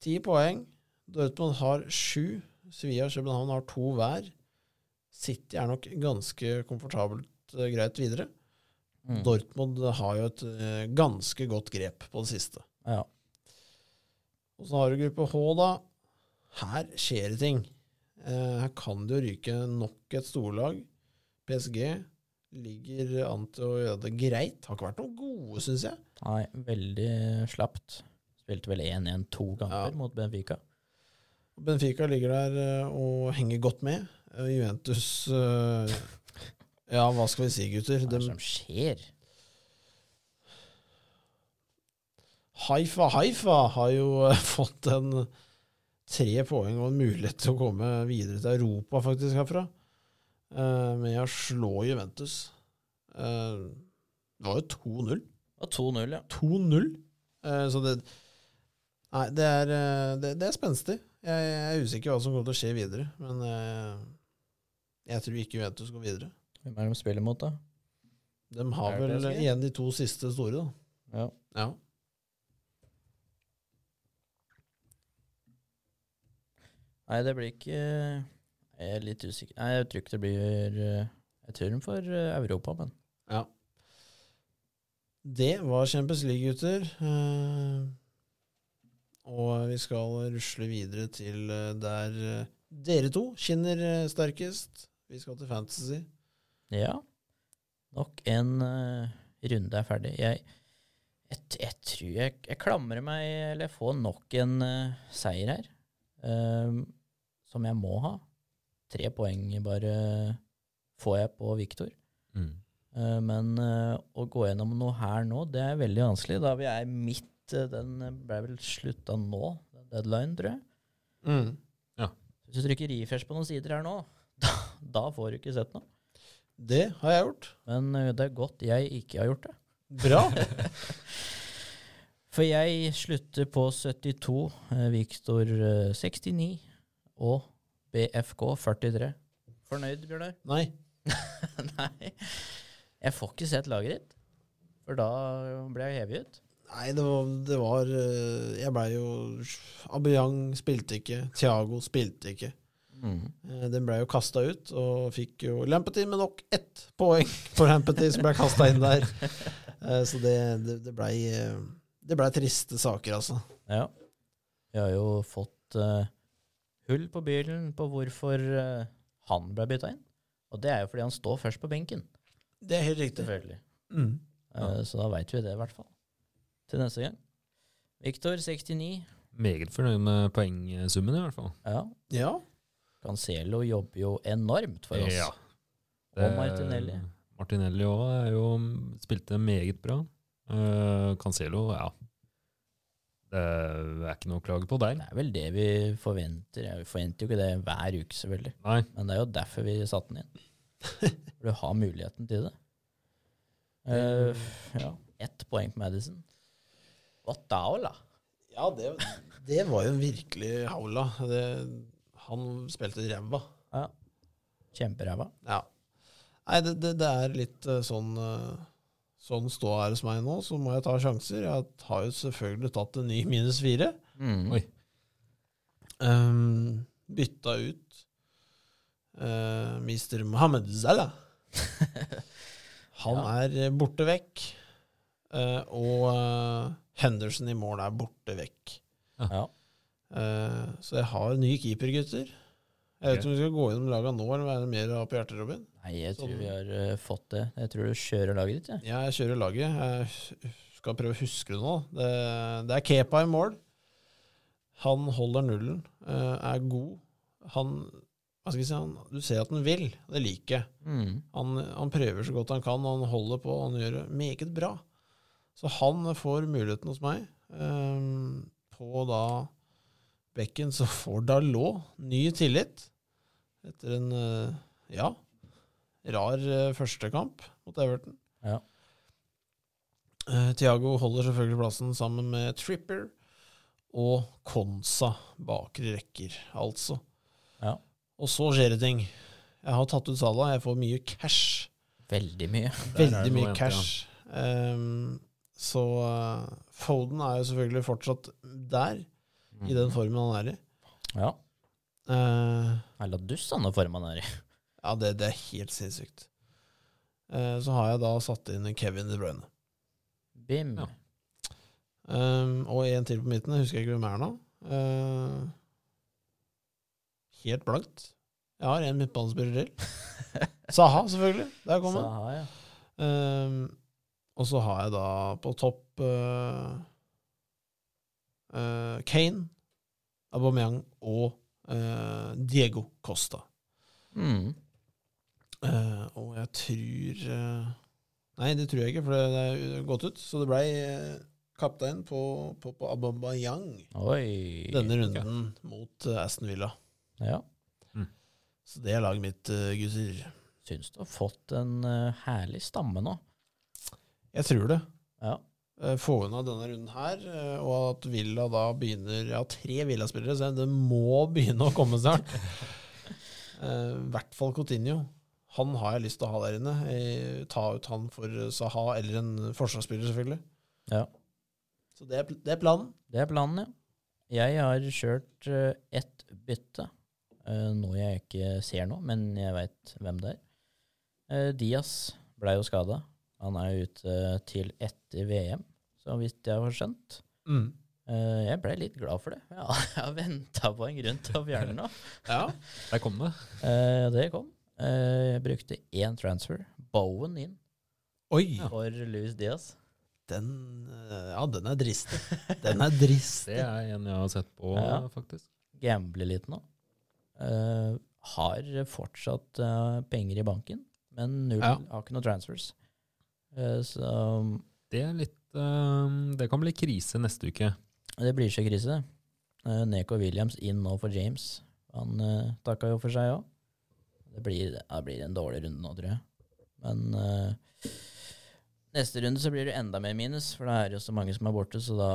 S1: Ti poeng. Dortmund har sju. Sevilla og København har to hver. City er nok ganske komfortabelt eh, greit videre.
S3: Mm.
S1: Dortmund har jo et eh, ganske godt grep på det siste.
S3: Ja.
S1: Og så har du gruppe H, da. Her skjer det ting. Eh, her kan det jo ryke nok et storlag. PSG, ligger an til å gjøre det greit. Har ikke vært noen gode, syns jeg.
S3: Nei, veldig slapt. Spilte vel 1-1 to
S1: Ja.
S3: kamper mot Benfica.
S1: Benfica ligger der eh, og henger godt med. Eh, Juventus eh, Ja, hva skal vi si, gutter?
S3: Hva er det
S1: De,
S3: som skjer?
S1: Haifa Haifa har jo eh, fått en tre poeng og en mulighet til å komme videre til Europa faktisk herfra. Eh, med å slå Juventus. Eh, det var jo 2-0.
S3: Og 2-0, ja.
S1: 2-0. Eh, så det Nei, det er, eh, det, det er spenstig. Jeg, jeg er usikker hva som kommer til å skje videre, men eh, jeg tror ikke Juventus går videre.
S3: Hvem er det de spiller mot, da?
S1: De har
S3: Er det
S1: vel
S3: PSG?
S1: igjen de to siste store, da.
S3: Ja.
S1: Ja.
S3: Nei, det blir ikke Jeg er litt usikker. Nei, jeg tror ikke det blir eh, Jeg tror de får eh, Europa, men
S1: Det var Champions League, gutter. Eh, og vi skal rusle videre til eh, der eh, dere to skinner eh, sterkest. Vi skal til Fantasy.
S3: ja. Nok en eh, runde er ferdig. Jeg, jeg, t- jeg tror jeg, jeg klamrer meg Eller jeg får nok en eh, seier her, eh, som jeg må ha. Tre poeng bare får jeg på Viktor.
S2: Mm.
S3: Eh, Men eh, å gå gjennom noe her nå, det er veldig vanskelig. Da vi er midt eh, Den ble vel slutta nå, den deadline, tror jeg. Hvis du trykker refresh på noen sider her nå, da, da får du ikke sett noe.
S1: Det har jeg gjort.
S3: Men eh, det er godt jeg ikke har gjort det.
S1: Bra.
S3: For jeg slutter på 72, eh, Viktor eh, 69 og BFK 43. Fornøyd, Bjørnar?
S1: Nei.
S3: Nei. Jeg får ikke sett laget ditt, for da ble jeg hevet ut.
S1: Nei, det var, det var eh, Jeg blei jo Abiang spilte ikke. Thiago spilte ikke.
S3: Mm.
S1: Eh, Den blei jo kasta ut, og fikk jo Lampety med nok ett poeng på Lampety som blei kasta inn der. Eh, Så det, det, det blei eh, Det blei triste saker, altså.
S3: Ja. Vi har jo fått eh, hull på bilen på hvorfor eh, han ble bytta inn. Og det er jo fordi han står først på benken,
S1: Det er helt riktig.
S3: selvfølgelig.
S1: Mm.
S3: Eh, Så da veit vi det, i hvert fall. Til neste gang. Viktor, 69.
S2: Meget fornøyd med poengsummen, i hvert fall.
S3: Ja.
S1: Ja.
S3: Cancelo jobber jo enormt for oss.
S2: Ja.
S3: Og Martinelli.
S2: Martinelli òg er jo Spilte meget bra. Eh, Cancelo, ja. Det er ikke noe å klage på der.
S3: Det er vel det vi forventer. Jeg forventer jo ikke det hver uke, selvfølgelig.
S2: Nei.
S3: Men det er jo derfor vi satte den inn. For du har muligheten til det. Eh, ja. Ett poeng på Madison. What the hell, da?
S1: ja det, det var jo en virkelig haula. Det, han spilte ræva.
S3: Ja. Kjemperæva.
S1: Ja. Nei, det, det, det er litt eh, sånn eh, Sånn stå her hos meg nå, så må jeg ta sjanser. Jeg har jo selvfølgelig tatt en ny minus fire. Mm.
S2: Oi.
S1: Um, bytta ut eh, Mr. Mohammed Zala. Han er eh, borte vekk. eh, og eh, Henderson i mål er borte vekk.
S3: Ja.
S1: Eh, så jeg har ny keeper, gutter. Jeg vet ikke om vi skal gå gjennom laga nå, eller være mer av på hjertet, Robin.
S3: Nei, jeg tror
S1: Sånn.
S3: vi har eh, fått det. Jeg tror du kjører laget ditt, jeg.
S1: Jeg kjører laget. Jeg skal prøve å huske det nå. Det, det er Kepa i mål. Han holder nullen, eh, er god. Han hva skal jeg si, han, Du ser at han vil. Det liker jeg. Han, han prøver så godt han kan, og han holder på. og Han gjør det meget bra. Så han får muligheten hos meg. Ehm, på da bekken så får Dalot ny tillit etter en eh, ja, rar eh, førstekamp mot Everton.
S3: Ja.
S1: Eh, Thiago holder selvfølgelig plassen sammen med Tripper og Konsa bakre rekker, altså.
S3: Ja.
S1: Og så skjer det ting. Jeg har tatt ut Salah, jeg får mye cash.
S3: Veldig mye.
S2: Der er det
S1: Veldig
S2: noe
S1: mye
S2: å hente,
S1: cash. Ehm, så eh, Foden er jo selvfølgelig fortsatt der, i
S2: Mhm.
S1: den formen han er i.
S3: Ja.
S1: Eh,
S3: Eller dust, han og formen er i.
S1: ja, det, det er helt sinnssykt. Eh, så har jeg da satt inn Kevin De Bruyne.
S3: Bim.
S2: Ja.
S1: Ehm, og en til på midten, jeg husker ikke hvem er nå. Eh, helt blankt. Jeg har en midtbanespiller til. Saha, selvfølgelig. Der kom han.
S3: Saha, ja.
S1: Ehm, og så har jeg da på topp eh, eh, Kane, Aubameyang og eh, Diego Costa.
S3: Mm.
S1: Eh, og jeg tror eh, Nei, det tror jeg ikke, for det, det er gått ut. Så det blei eh, kaptein på, på, på Aubameyang
S3: Oi.
S1: denne runden mot eh, Aston Villa.
S3: Ja.
S1: Så det er laget mitt, eh, gutter.
S3: Syns du har fått en eh, herlig stamme nå.
S1: Jeg tror det.
S3: Ja.
S1: Eh, Få unna denne runden her, eh, og at Villa da begynner Jeg har tre Villa-spillere, så det må begynne å komme snart. Eh, I hvert fall Coutinho. Han har jeg lyst til å ha der inne. Eh, Ta ut han for eh, Saha eller en forsvarsspiller, selvfølgelig.
S3: Ja.
S1: Så det er, pl- det er planen.
S3: Det er planen, ja. Jeg har kjørt eh, ett bytte. eh, noe jeg ikke ser nå, men jeg veit hvem det er. Eh, Diaz blei jo skada. Han er jo ute til etter VM, så vidt jeg har skjønt. Eh, jeg blei litt glad for det. Ja, jeg har venta på en grunn til å fjerne nå.
S1: Ja.
S2: Der kom det.
S3: Eh, det kom. Eh, jeg brukte én transfer, Bowen, inn
S1: Oi!
S3: for Louis Diaz.
S1: Den, eh, ja, den er dristig. Den er dristig.
S2: Det er en jeg har sett på,
S3: Ja.
S2: faktisk.
S3: gamble litt nå. Eh, har fortsatt eh, penger i banken, men null,
S1: Ja.
S3: har ikke noen transfers. Eh, så
S2: Det er litt eh, Det kan bli krise neste uke.
S3: det blir ikke krise. Eh, Neko Williams inn nå for James. Han uh, takka jo for seg òg. Det, blir- ja, det blir en dårlig runde nå, tror jeg. Men eh, neste runde så blir det enda mer minus, for da er det jo så mange som er borte, så da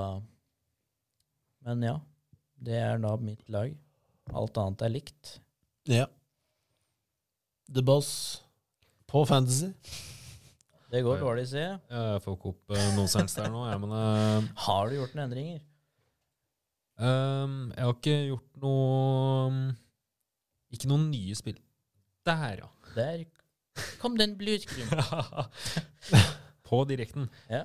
S3: Men ja. Det er da mitt lag. Alt annet er likt.
S1: Ja. The Boss på Fantasy.
S3: Det går
S2: Ja.
S3: dårlig, sier jeg.
S2: Jeg får ikke opp eh, noen sens der nå. Jeg, men, eh,
S3: Har du gjort noen endringer?
S2: Ehm, jeg har ikke gjort noe Ikke noen nye spill. Der,
S3: Der kom den blutkrimen.
S2: ja. På direkten.
S3: Ja.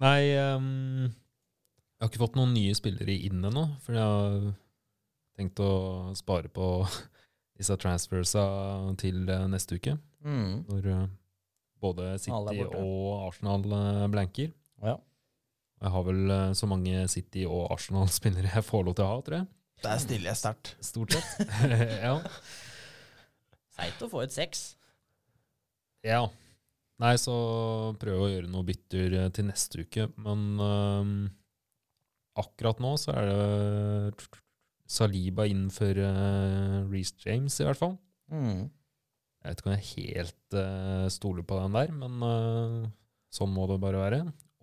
S2: Nei, ehm, jeg har ikke fått noen nye spillere inn ennå, for jeg har tenkt å spare på disse transfersa til eh, neste uke,
S3: Mm.
S2: når eh, både
S3: Alle
S2: City
S3: er borte.
S2: og Arsenal eh, blanker.
S3: Ja.
S2: Jeg har vel eh, så mange City- og Arsenal-spillere jeg får lov til å ha, tror jeg.
S1: Der stiller jeg sterkt.
S2: Stort sett. ja.
S3: Seigt å få et seks.
S2: Ja. Nei, så prøve å gjøre noen bytter eh, til neste uke, men øhm, akkurat nå så er det Saliba innenfor uh, Reece James, i hvert fall.
S3: Mm.
S2: Jeg vet ikke om jeg helt eh, stoler på den der, men eh, sånn må det bare være.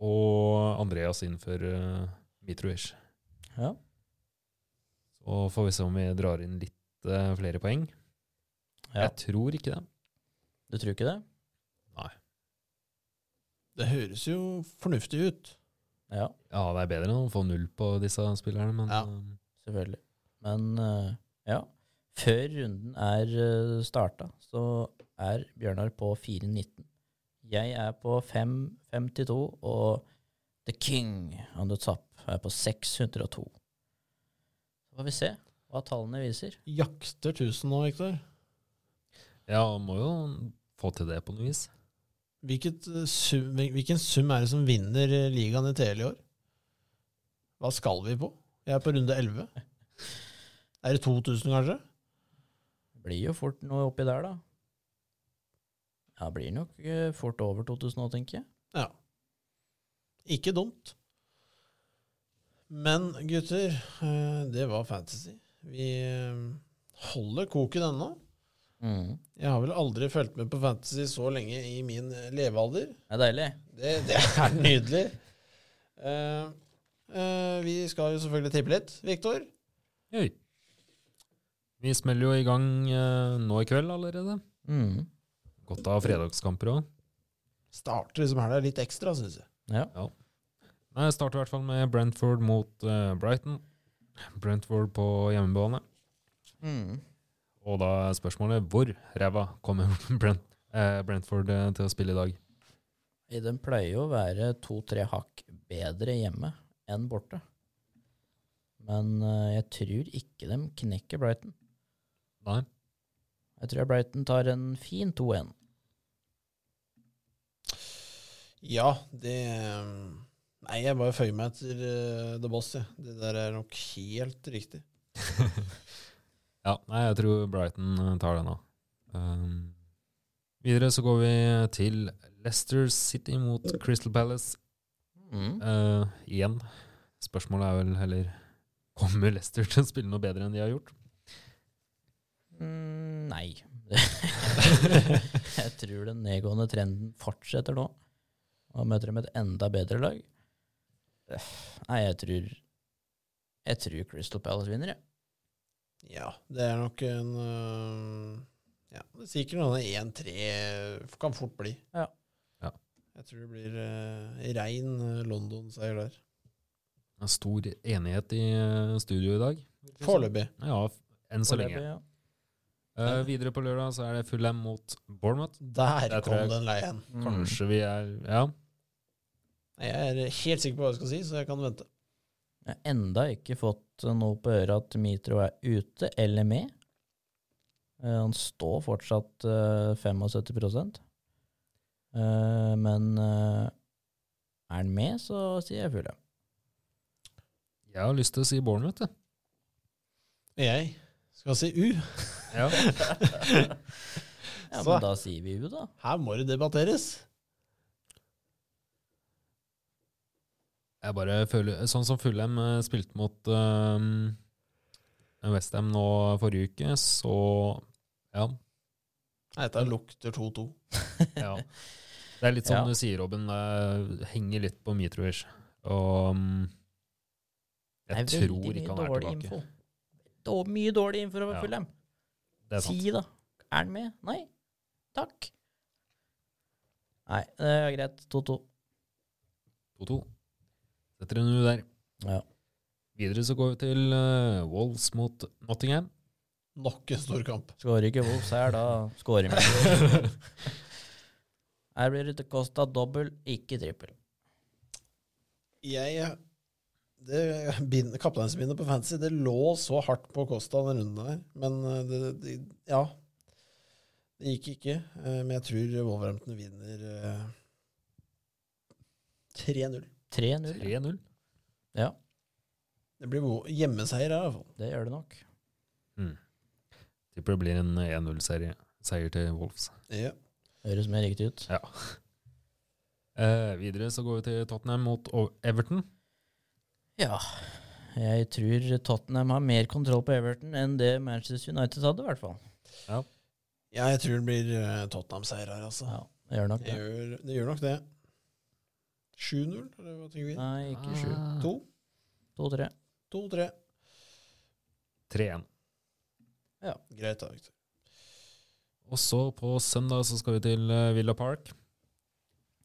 S2: Og Andreas innenfor uh, Mitrovic.
S3: Ja.
S2: Så får vi se om vi drar inn litt eh, flere poeng.
S3: ja.
S2: Jeg tror ikke det.
S3: Du tror ikke det?
S1: Det høres jo fornuftig ut.
S3: Ja,
S2: Ja, det er bedre enn å få null på disse spillerne, men
S1: Ja.
S2: eh,
S3: selvfølgelig. Men eh, ja, før runden er uh, starta, så er Bjørnar på 4,19. Jeg er på 5,52, og The King on the top er på 602. Så får vi se hva tallene viser.
S1: Jakter 1000 nå, Viktor.
S2: Ja, må jo få til det på noe vis.
S1: Hvilket, eh, sum, hvil- hvilken sum er det som vinner eh, ligaen i TL i år? Hva skal vi på? Jeg er på runde 11. Er det 2000, kanskje?
S3: Det blir jo fort noe oppi der, da. Ja, det blir nok eh, fort over 2000 nå, tenker jeg.
S1: Ja. Ikke dumt. Men gutter, eh, det var fantasy. Vi eh, holder koken ennå.
S3: Mm.
S1: Jeg har vel aldri fulgt med på fantasy så lenge i min eh, levealder.
S3: Det er deilig.
S1: Det, det er nydelig. Eh, eh, vi skal jo selvfølgelig tippe litt, Viktor.
S2: Oi. Vi smeller jo i gang eh, nå i kveld allerede.
S3: Mm.
S2: Godt av fredagskamper òg.
S1: Starter liksom her det er litt ekstra, syns jeg.
S3: Ja.
S2: Jeg starter i hvert fall med Brentford mot eh, Brighton. Brentford på hjemmebane.
S3: Mm.
S2: Og da er spørsmålet hvor ræva kommer Brent, eh, Brentford eh, til å spille i dag?
S3: I Den pleier jo å være to-tre hakk bedre hjemme enn borte. Men eh, jeg tror ikke de knekker Brighton.
S2: Nei.
S3: Jeg tror Brighton tar en fin 2-1.
S1: Ja, det um, Nei, jeg bare føyer meg etter eh, The Boss, jeg. Det der er nok helt riktig.
S2: Ja, nei, jeg tror Brighton eh, tar den da. Um, videre så går vi til Leicester City mot Crystal Palace.
S3: Mm.
S2: Eh, igjen. Spørsmålet er vel heller Kommer Leicester til å spille noe bedre enn de har gjort?
S3: Mm, nei. jeg tror den nedgående trenden fortsetter nå. Og møter dem et enda bedre lag. Øff, Nei, jeg tror Jeg tror Crystal Palace vinner, jeg.
S1: Ja, det er nok en eh, Ja, det er sikkert noen 1-3 kan fort bli.
S3: Ja.
S2: Ja.
S1: Jeg tror det blir eh, rein eh, London-seier der.
S2: Det er stor enighet i eh, studio i dag.
S1: Foreløpig.
S2: Ja, f- enn så
S3: Foreløpig,
S2: lenge.
S3: ja.
S2: Eh, videre på lørdag så er det Fulham mot Bournemouth.
S1: Der
S2: Jeg tror
S1: kom
S2: jeg-
S1: den leien.
S3: Mm.
S2: Kanskje vi er Ja.
S1: Nei, Jeg er helt sikker på hva jeg skal si, så jeg kan vente.
S3: Jeg har enda ikke fått eh, noe på øret at Mitro er ute eller med. Eh, Han står fortsatt eh, 75 Eh, Men eh, er han med, så sier jeg fulle.
S2: Jeg har lyst til å si Bournemouth, jeg.
S1: Jeg skal si U.
S2: Ja.
S3: Ja,
S1: Så.
S3: men da sier vi jo, da.
S1: Her må det debatteres.
S2: Jeg bare føler Sånn som Fulham eh, spilte mot um, Westham nå forrige uke, så ja,
S1: Nei, Dette lukter 2-2.
S2: ja. Det er litt som
S3: Ja.
S2: du sier, Robin. Det henger litt på Mitrovic. Og um, jeg
S3: Det er veldig
S2: tror ikke
S3: mye
S2: han er
S3: dårlig
S2: tilbake.
S3: info. Da, mye dårlig info over
S2: Ja,
S3: Fulham.
S2: Det er
S3: Si,
S2: sant.
S3: da. Er han med? Nei. Takk. Nei, det er greit. 2-2.
S2: 2-2. Setter en U der.
S3: Ja.
S2: Videre så går vi til eh, Wolves mot Nottingham.
S1: Nok en stor kamp.
S3: Skårer ikke Wolves her, da skårer vi. Her blir det Costa dobbel, ikke trippel.
S1: Jeg det bind- Kapteinsbindet på Fantasy det lå så hardt på Kosta den runden der, men eh, det, det Ja. Det gikk ikke, eh, men jeg tror Wolverhampton vinner eh, 3-0.
S3: 3-0.
S2: 3-0.
S3: Ja,
S1: Det blir wo- hjemmeseier her, i hvert fall.
S3: det gjør det nok.
S2: Mm. Tipper det blir en 1-0-seier seier til Wolves.
S1: Ja.
S3: Høres mer riktig ut.
S2: Eh, videre så går vi til Tottenham mot O- Everton.
S3: Ja, jeg tror Tottenham har mer kontroll på Everton enn det Manchester United hadde, i hvert fall.
S1: ja, jeg tror det blir eh, Tottenham-seier her, altså.
S3: Ja, det gjør nok
S1: Det
S3: det.
S1: gjør, det gjør nok det. 7-0, eller hva tenker vi?
S3: Nei, ikke sju.
S2: Ah.
S1: 2,
S3: 2-3.
S1: 2-3.
S2: 3-1.
S1: Greit, da. Victor.
S2: Og så på søndag så skal vi til eh, Villa Park.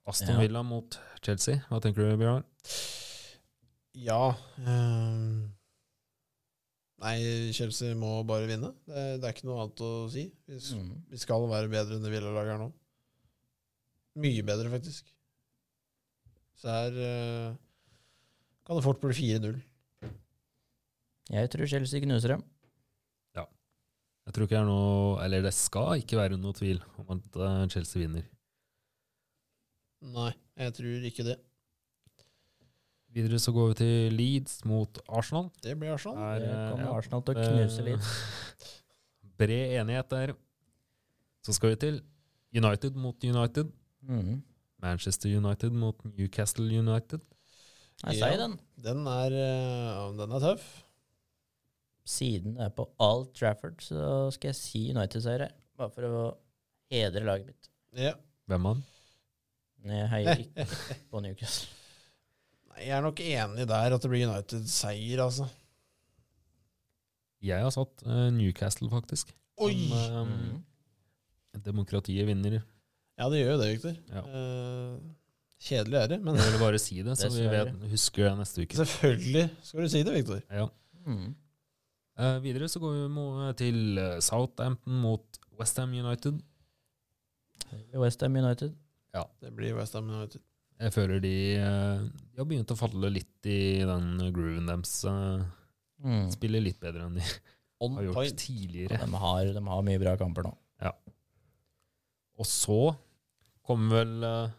S2: Aston
S3: Ja.
S2: Villa mot Chelsea. Hva tenker du, Bjørn?
S1: Ja ehm. Nei, Chelsea må bare vinne. Det, er- det er ikke noe annet å si. Vi, s-
S3: Mm.
S1: vi skal være bedre enn det Villa-laget er nå. Mye bedre, faktisk. Så her eh, kan det fort bli 4-0.
S3: Jeg tror Chelsea knuser dem.
S2: Jeg tror ikke det er noe Eller det skal ikke være noe tvil om at eh, Chelsea vinner.
S1: Nei, jeg tror ikke det.
S2: Videre så går vi til Leeds mot Arsenal.
S1: Det blir Arsenal.
S2: Der,
S3: Der
S2: eh,
S3: kommer
S2: ja,
S3: Arsenal til å
S2: det-
S3: knuse litt.
S2: Bred enighet der. Så skal vi til United mot United.
S3: Mm.
S2: Manchester United mot Newcastle United.
S1: Ja.
S3: Jeg sier den.
S1: Den er, eh, den er tøff.
S3: Siden det er på Old Trafford, så skal jeg si United-seier her. Bare for å hedre laget mitt.
S1: Ja.
S2: Hvem er han?
S3: Men Jeg heier ikke på Newcastle.
S1: Nei, jeg er nok enig der at det blir United-seier, altså.
S2: Jeg har satt eh, Newcastle, faktisk.
S1: Oi!
S2: Som, eh,
S3: Mm.
S2: Demokratiet vinner.
S1: Ja, det gjør jo det, Victor.
S2: Ja.
S1: Eh, kjedelig er det, men
S2: Jeg ville bare si det, så vi
S3: Dessverre.
S2: vet, husker det neste uke.
S1: Selvfølgelig skal du si det, Victor.
S2: Ja.
S3: Mm.
S2: Eh, videre så går vi mo- til eh, Southampton mot Westham United.
S3: Westham United.
S1: Det blir Westham United.
S2: Jeg føler de, eh, de har begynt å falle litt i den grooven deres. eh,
S3: Mm.
S2: spiller litt bedre enn de
S1: On
S2: har gjort
S1: point.
S2: tidligere.
S3: De har, de har mye bra kamper nå.
S2: Og så kommer vel eh,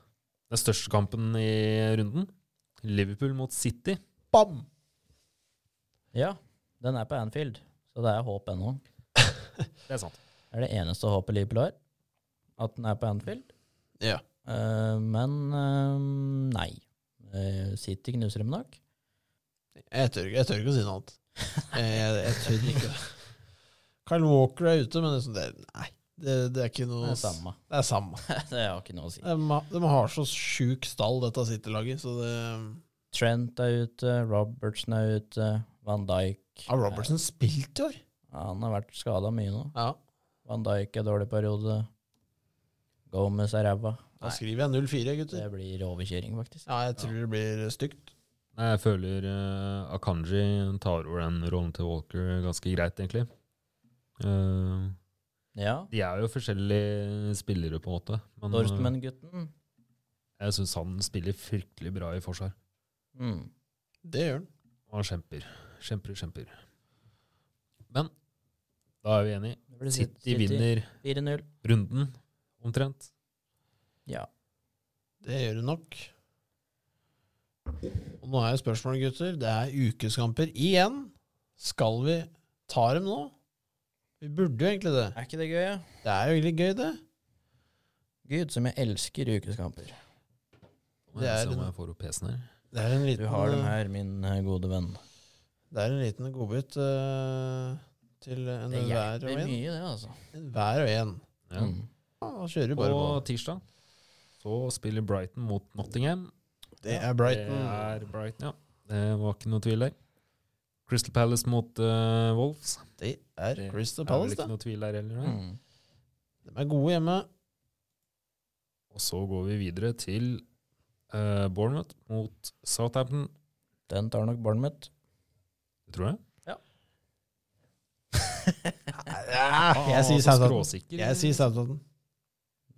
S2: den største kampen i runden. Liverpool mot City.
S1: Bam!
S3: Ja, den er på Anfield, så det er håp ennå.
S2: Det er sant.
S3: Det er det eneste håpet Liverpool har, at den er på Anfield.
S1: Ja.
S3: Eh, men eh, nei. Eh, City knuser dem nok.
S1: Jeg tør, jeg tør ikke å si noe annet. Jeg, jeg, jeg tør ikke det. Kyle Walker er ute, men liksom det, nei, det, det er ikke
S3: Det
S1: noe
S3: er samme.
S1: Det er samme.
S3: det har ikke noe å si.
S1: De, har- de har så sjuk stall, dette City-laget, så det
S3: Trent er ute, Robertson er ute, Van Dijk
S1: Har Robertson spilt i år?
S3: Ja, Han har vært skada mye nå.
S1: Ja.
S3: Van Dijk er dårlig periode. Gomez er ræva.
S1: Da
S3: Nei,
S1: skriver jeg 0-4, gutter.
S3: det blir overkjøring, faktisk.
S1: Ja, jeg tror det blir stygt.
S2: Nei, Jeg føler eh, Akanji tar over den rollen til Walker ganske greit, egentlig. Eh,
S3: Ja.
S2: de er jo forskjellige spillere, på en måte. Men eh,
S3: Dortmund-gutten.
S2: jeg syns han spiller fryktelig bra i forsvar.
S3: Mm.
S1: Det gjør han.
S2: Og han kjemper. Kjemper, kjemper. Men da er vi enige.
S3: Det blir
S2: City, vinner
S3: 4-0.
S2: runden, omtrent.
S3: Ja.
S1: Det gjør det nok. Og nå er jo spørsmålet, gutter. Det er ukeskamper igjen. Skal vi ta dem nå? Vi burde jo egentlig det.
S3: Er ikke det gøy, ja?
S1: Det er jo egentlig gøy, det.
S3: Gud, som jeg elsker ukeskamper.
S2: Nå må
S1: Det
S2: jeg
S1: er
S2: se om
S1: en-
S2: jeg får opp PC-en her.
S1: Det er en
S3: Du
S1: liten,
S3: har dem her, min eh, gode venn.
S1: det er en liten godbit eh, til en
S3: Det
S1: hver
S3: hjelper
S1: og en.
S3: mye, det, altså.
S1: En Hver og en.
S2: Ja.
S3: Mm.
S1: Ja, da kjører vi bare
S2: På
S1: på.
S2: tirsdag så spiller Brighton mot Nottingham.
S1: Det er Brighton.
S2: Det er Brighton, ja. Det var ikke noe tvil der. Crystal Palace mot eh, Wolves.
S1: Det er
S2: Det
S1: Crystal
S2: er vel
S1: Palace,
S2: ikke
S1: det.
S2: noe tvil der heller. nei.
S3: Mm.
S1: De er gode hjemme.
S2: Og så går vi videre til eh, Bournemouth mot Southampton,
S3: Den tar nok barnet mitt.
S2: tror jeg.
S1: Ja, jeg
S2: Ah,
S1: sier
S2: så
S1: Southampton.
S2: Skråsikker.
S1: Jeg sier Southampton.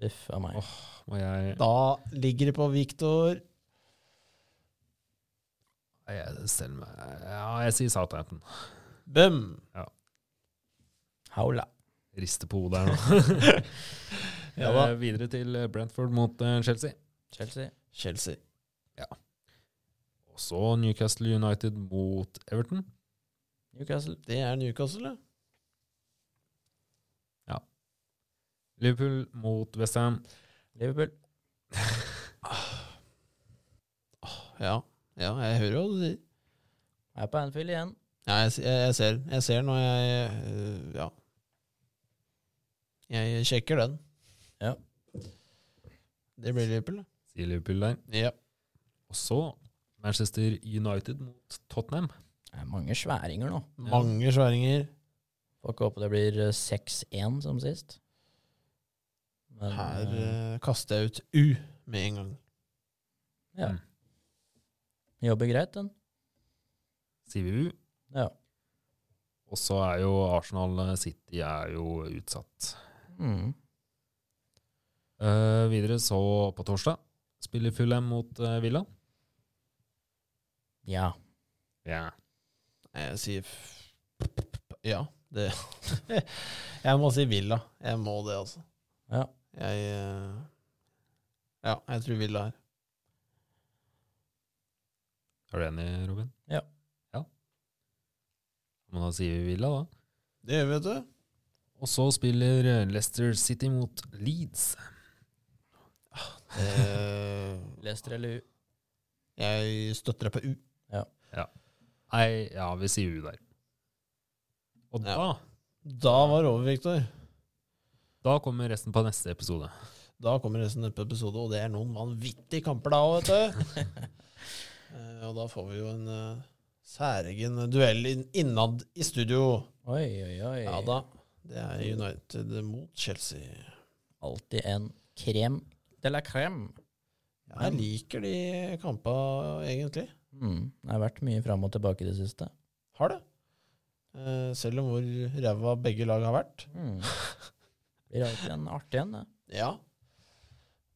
S3: Uff a meg.
S2: Åh. Og jeg,
S1: Da ligger det på Victor.
S2: jeg stiller meg Ja, jeg sier Southampton.
S1: Bum!
S3: Haula.
S2: Rister på hodet her nå.
S1: Ja da.
S2: Eh, videre til Brentford mot eh, Chelsea.
S3: Chelsea.
S1: Chelsea.
S2: Og så Newcastle United mot Everton.
S3: Newcastle.
S1: Det er Newcastle, det.
S2: Liverpool mot Westham.
S3: Liverpool.
S1: Ja, ja jeg hører jo hva du sier.
S3: Er på Anfield igjen.
S1: Ja, jeg, jeg, jeg ser den. Jeg ser den, og jeg øh, Ja. Jeg sjekker den.
S3: Ja.
S1: Det blir Liverpool, det.
S2: Sier Liverpool der.
S1: Ja.
S2: Og så Manchester United mot Tottenham.
S3: Det er mange sværinger nå.
S1: Mange sværinger.
S3: Får ikke håpe det blir eh, 6-1 som sist. Men,
S1: Her
S3: eh,
S1: øh, kaster jeg ut U med en gang.
S3: Ja.
S2: Mm.
S3: Jobber greit, den.
S2: Sier vi U.
S3: Ja.
S2: Og så er jo Arsenal eh, City er jo utsatt.
S3: Mm.
S2: Eh, videre så på torsdag spiller Fulham mot eh, Villa.
S3: Ja.
S2: Ja.
S1: Nei, Jeg sier f- Ja, det Jeg må si Villa. Jeg må det, altså.
S3: Ja.
S1: Jeg øh, Ja, jeg tror Villa her.
S2: Er du enig, Robin?
S3: Ja.
S2: Ja. Men da sier vi Villa, da.
S1: Det gjør vi, vet du.
S2: Og så spiller eh, Leicester City mot Leeds.
S1: Eh,
S3: Leicester eller U.
S1: jeg støtter deg på U.
S2: Nei, ja, vi sier U der. Og
S1: Ja.
S2: da,
S1: Da var det over, Viktor.
S2: da kommer resten på neste episode.
S1: Da kommer resten av episode, og det er noen vanvittige kamper da òg, vet du. Eh, og da får vi jo en eh, særegen duell inn- innad i studio.
S3: Oi, oi, oi.
S1: Ja da. Det er United mot Chelsea.
S3: Alltid en krem de la crème.
S1: Jeg liker de kampa, egentlig.
S3: Mm. Det har vært mye fram og tilbake i det siste.
S1: Har det. Eh, selv om hvor ræva begge lag har vært.
S3: Mm. Blir alltid en artig en, det.
S1: Ja.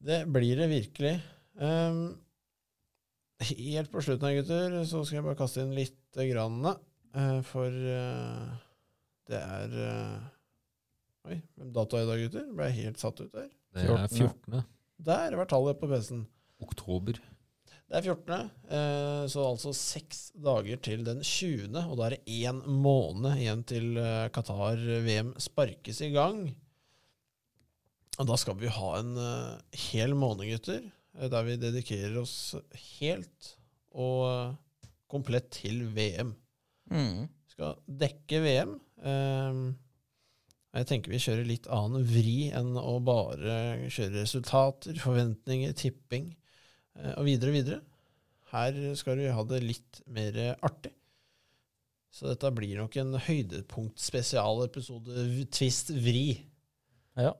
S1: Det blir det virkelig. Ehm, helt på slutten her, gutter, så skal jeg bare kaste inn litt grann. eh, for eh, Det er eh, Oi, hvem dato er det i dag, gutter? Ble jeg helt satt ut der?
S2: Det er 14.
S1: Der var tallet på PC-en.
S2: oktober.
S1: Det er 14., eh, så altså seks dager til den 20., og da er det én måned igjen til eh, Qatar-VM sparkes i gang. Og da skal vi ha en eh, hel måned, gutter, eh, der vi dedikerer oss helt og eh, komplett til VM.
S3: Mm.
S1: Vi skal dekke VM. Eh, Jeg tenker vi kjører litt annen vri enn å bare kjøre resultater, forventninger, tipping eh, og videre og videre. Her skal vi ha det litt mer artig. Så dette blir nok en høydepunktspesialepisode Twist vri.
S3: Ja.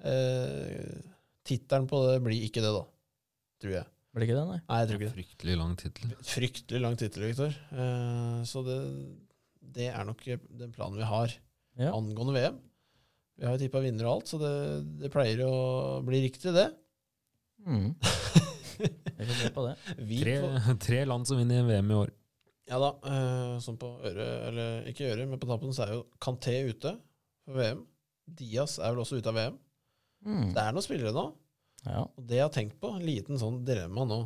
S1: Eh, Tittelen på det blir ikke det, da. Tror jeg.
S3: Blir ikke det, nei?
S1: Nei, jeg tror ikke det.
S2: Fryktelig lang tittel.
S1: Fryktelig lang tittel, Victor. Eh, så det, det er nok den planen vi har
S3: Ja.
S1: angående VM. Vi har jo tippa vinner og alt, så det, det pleier å bli riktig, det.
S3: Mm. Vi får se på det.
S1: Vi
S2: Tre,
S1: får-
S2: tre land som vinner VM i år.
S1: Ja da, eh, sånn på øret, eller ikke øret, men på tappen så er jo Kanté ute for VM. Diaz er vel også ute av VM.
S3: Mm.
S1: Det er noen spillere nå,
S3: Ja.
S1: og det jeg har tenkt på, en liten sånn dilemma nå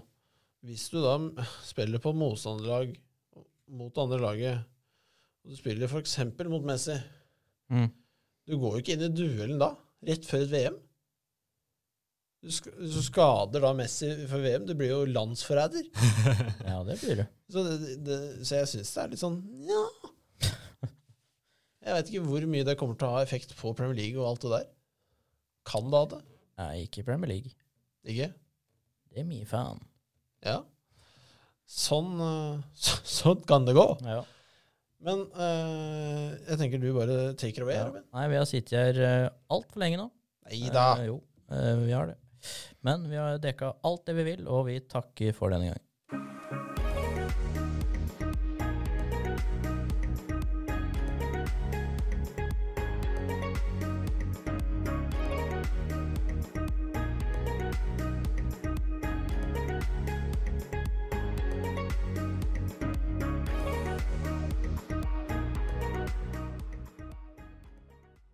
S1: Hvis du da m- spiller på motstanderlag mot det andre laget, og du spiller f.eks. mot Messi
S3: Mm.
S1: Du går jo ikke inn i duellen da, rett før et VM. Du, sk du skader da Messi for VM. Du blir jo landsforræder.
S3: ja, det blir det.
S1: Så, det, det, så jeg syns det er litt sånn ja. Jeg veit ikke hvor mye det kommer til å ha effekt på Premier League og alt det der. Kan det ha det?
S3: Nei, ikke i Premier League.
S1: Ikke?
S3: Det er mye faen.
S1: Ja. Sånn, eh, så, sånn kan det gå.
S3: Ja.
S1: Men eh, jeg tenker du bare take it away,
S3: Ja.
S1: Robin.
S3: Nei, vi har sittet her eh, altfor lenge nå.
S1: Nei da.
S3: Eh, jo, eh, vi har det. Men vi har dekka alt det vi vil, og vi takker for denne gang.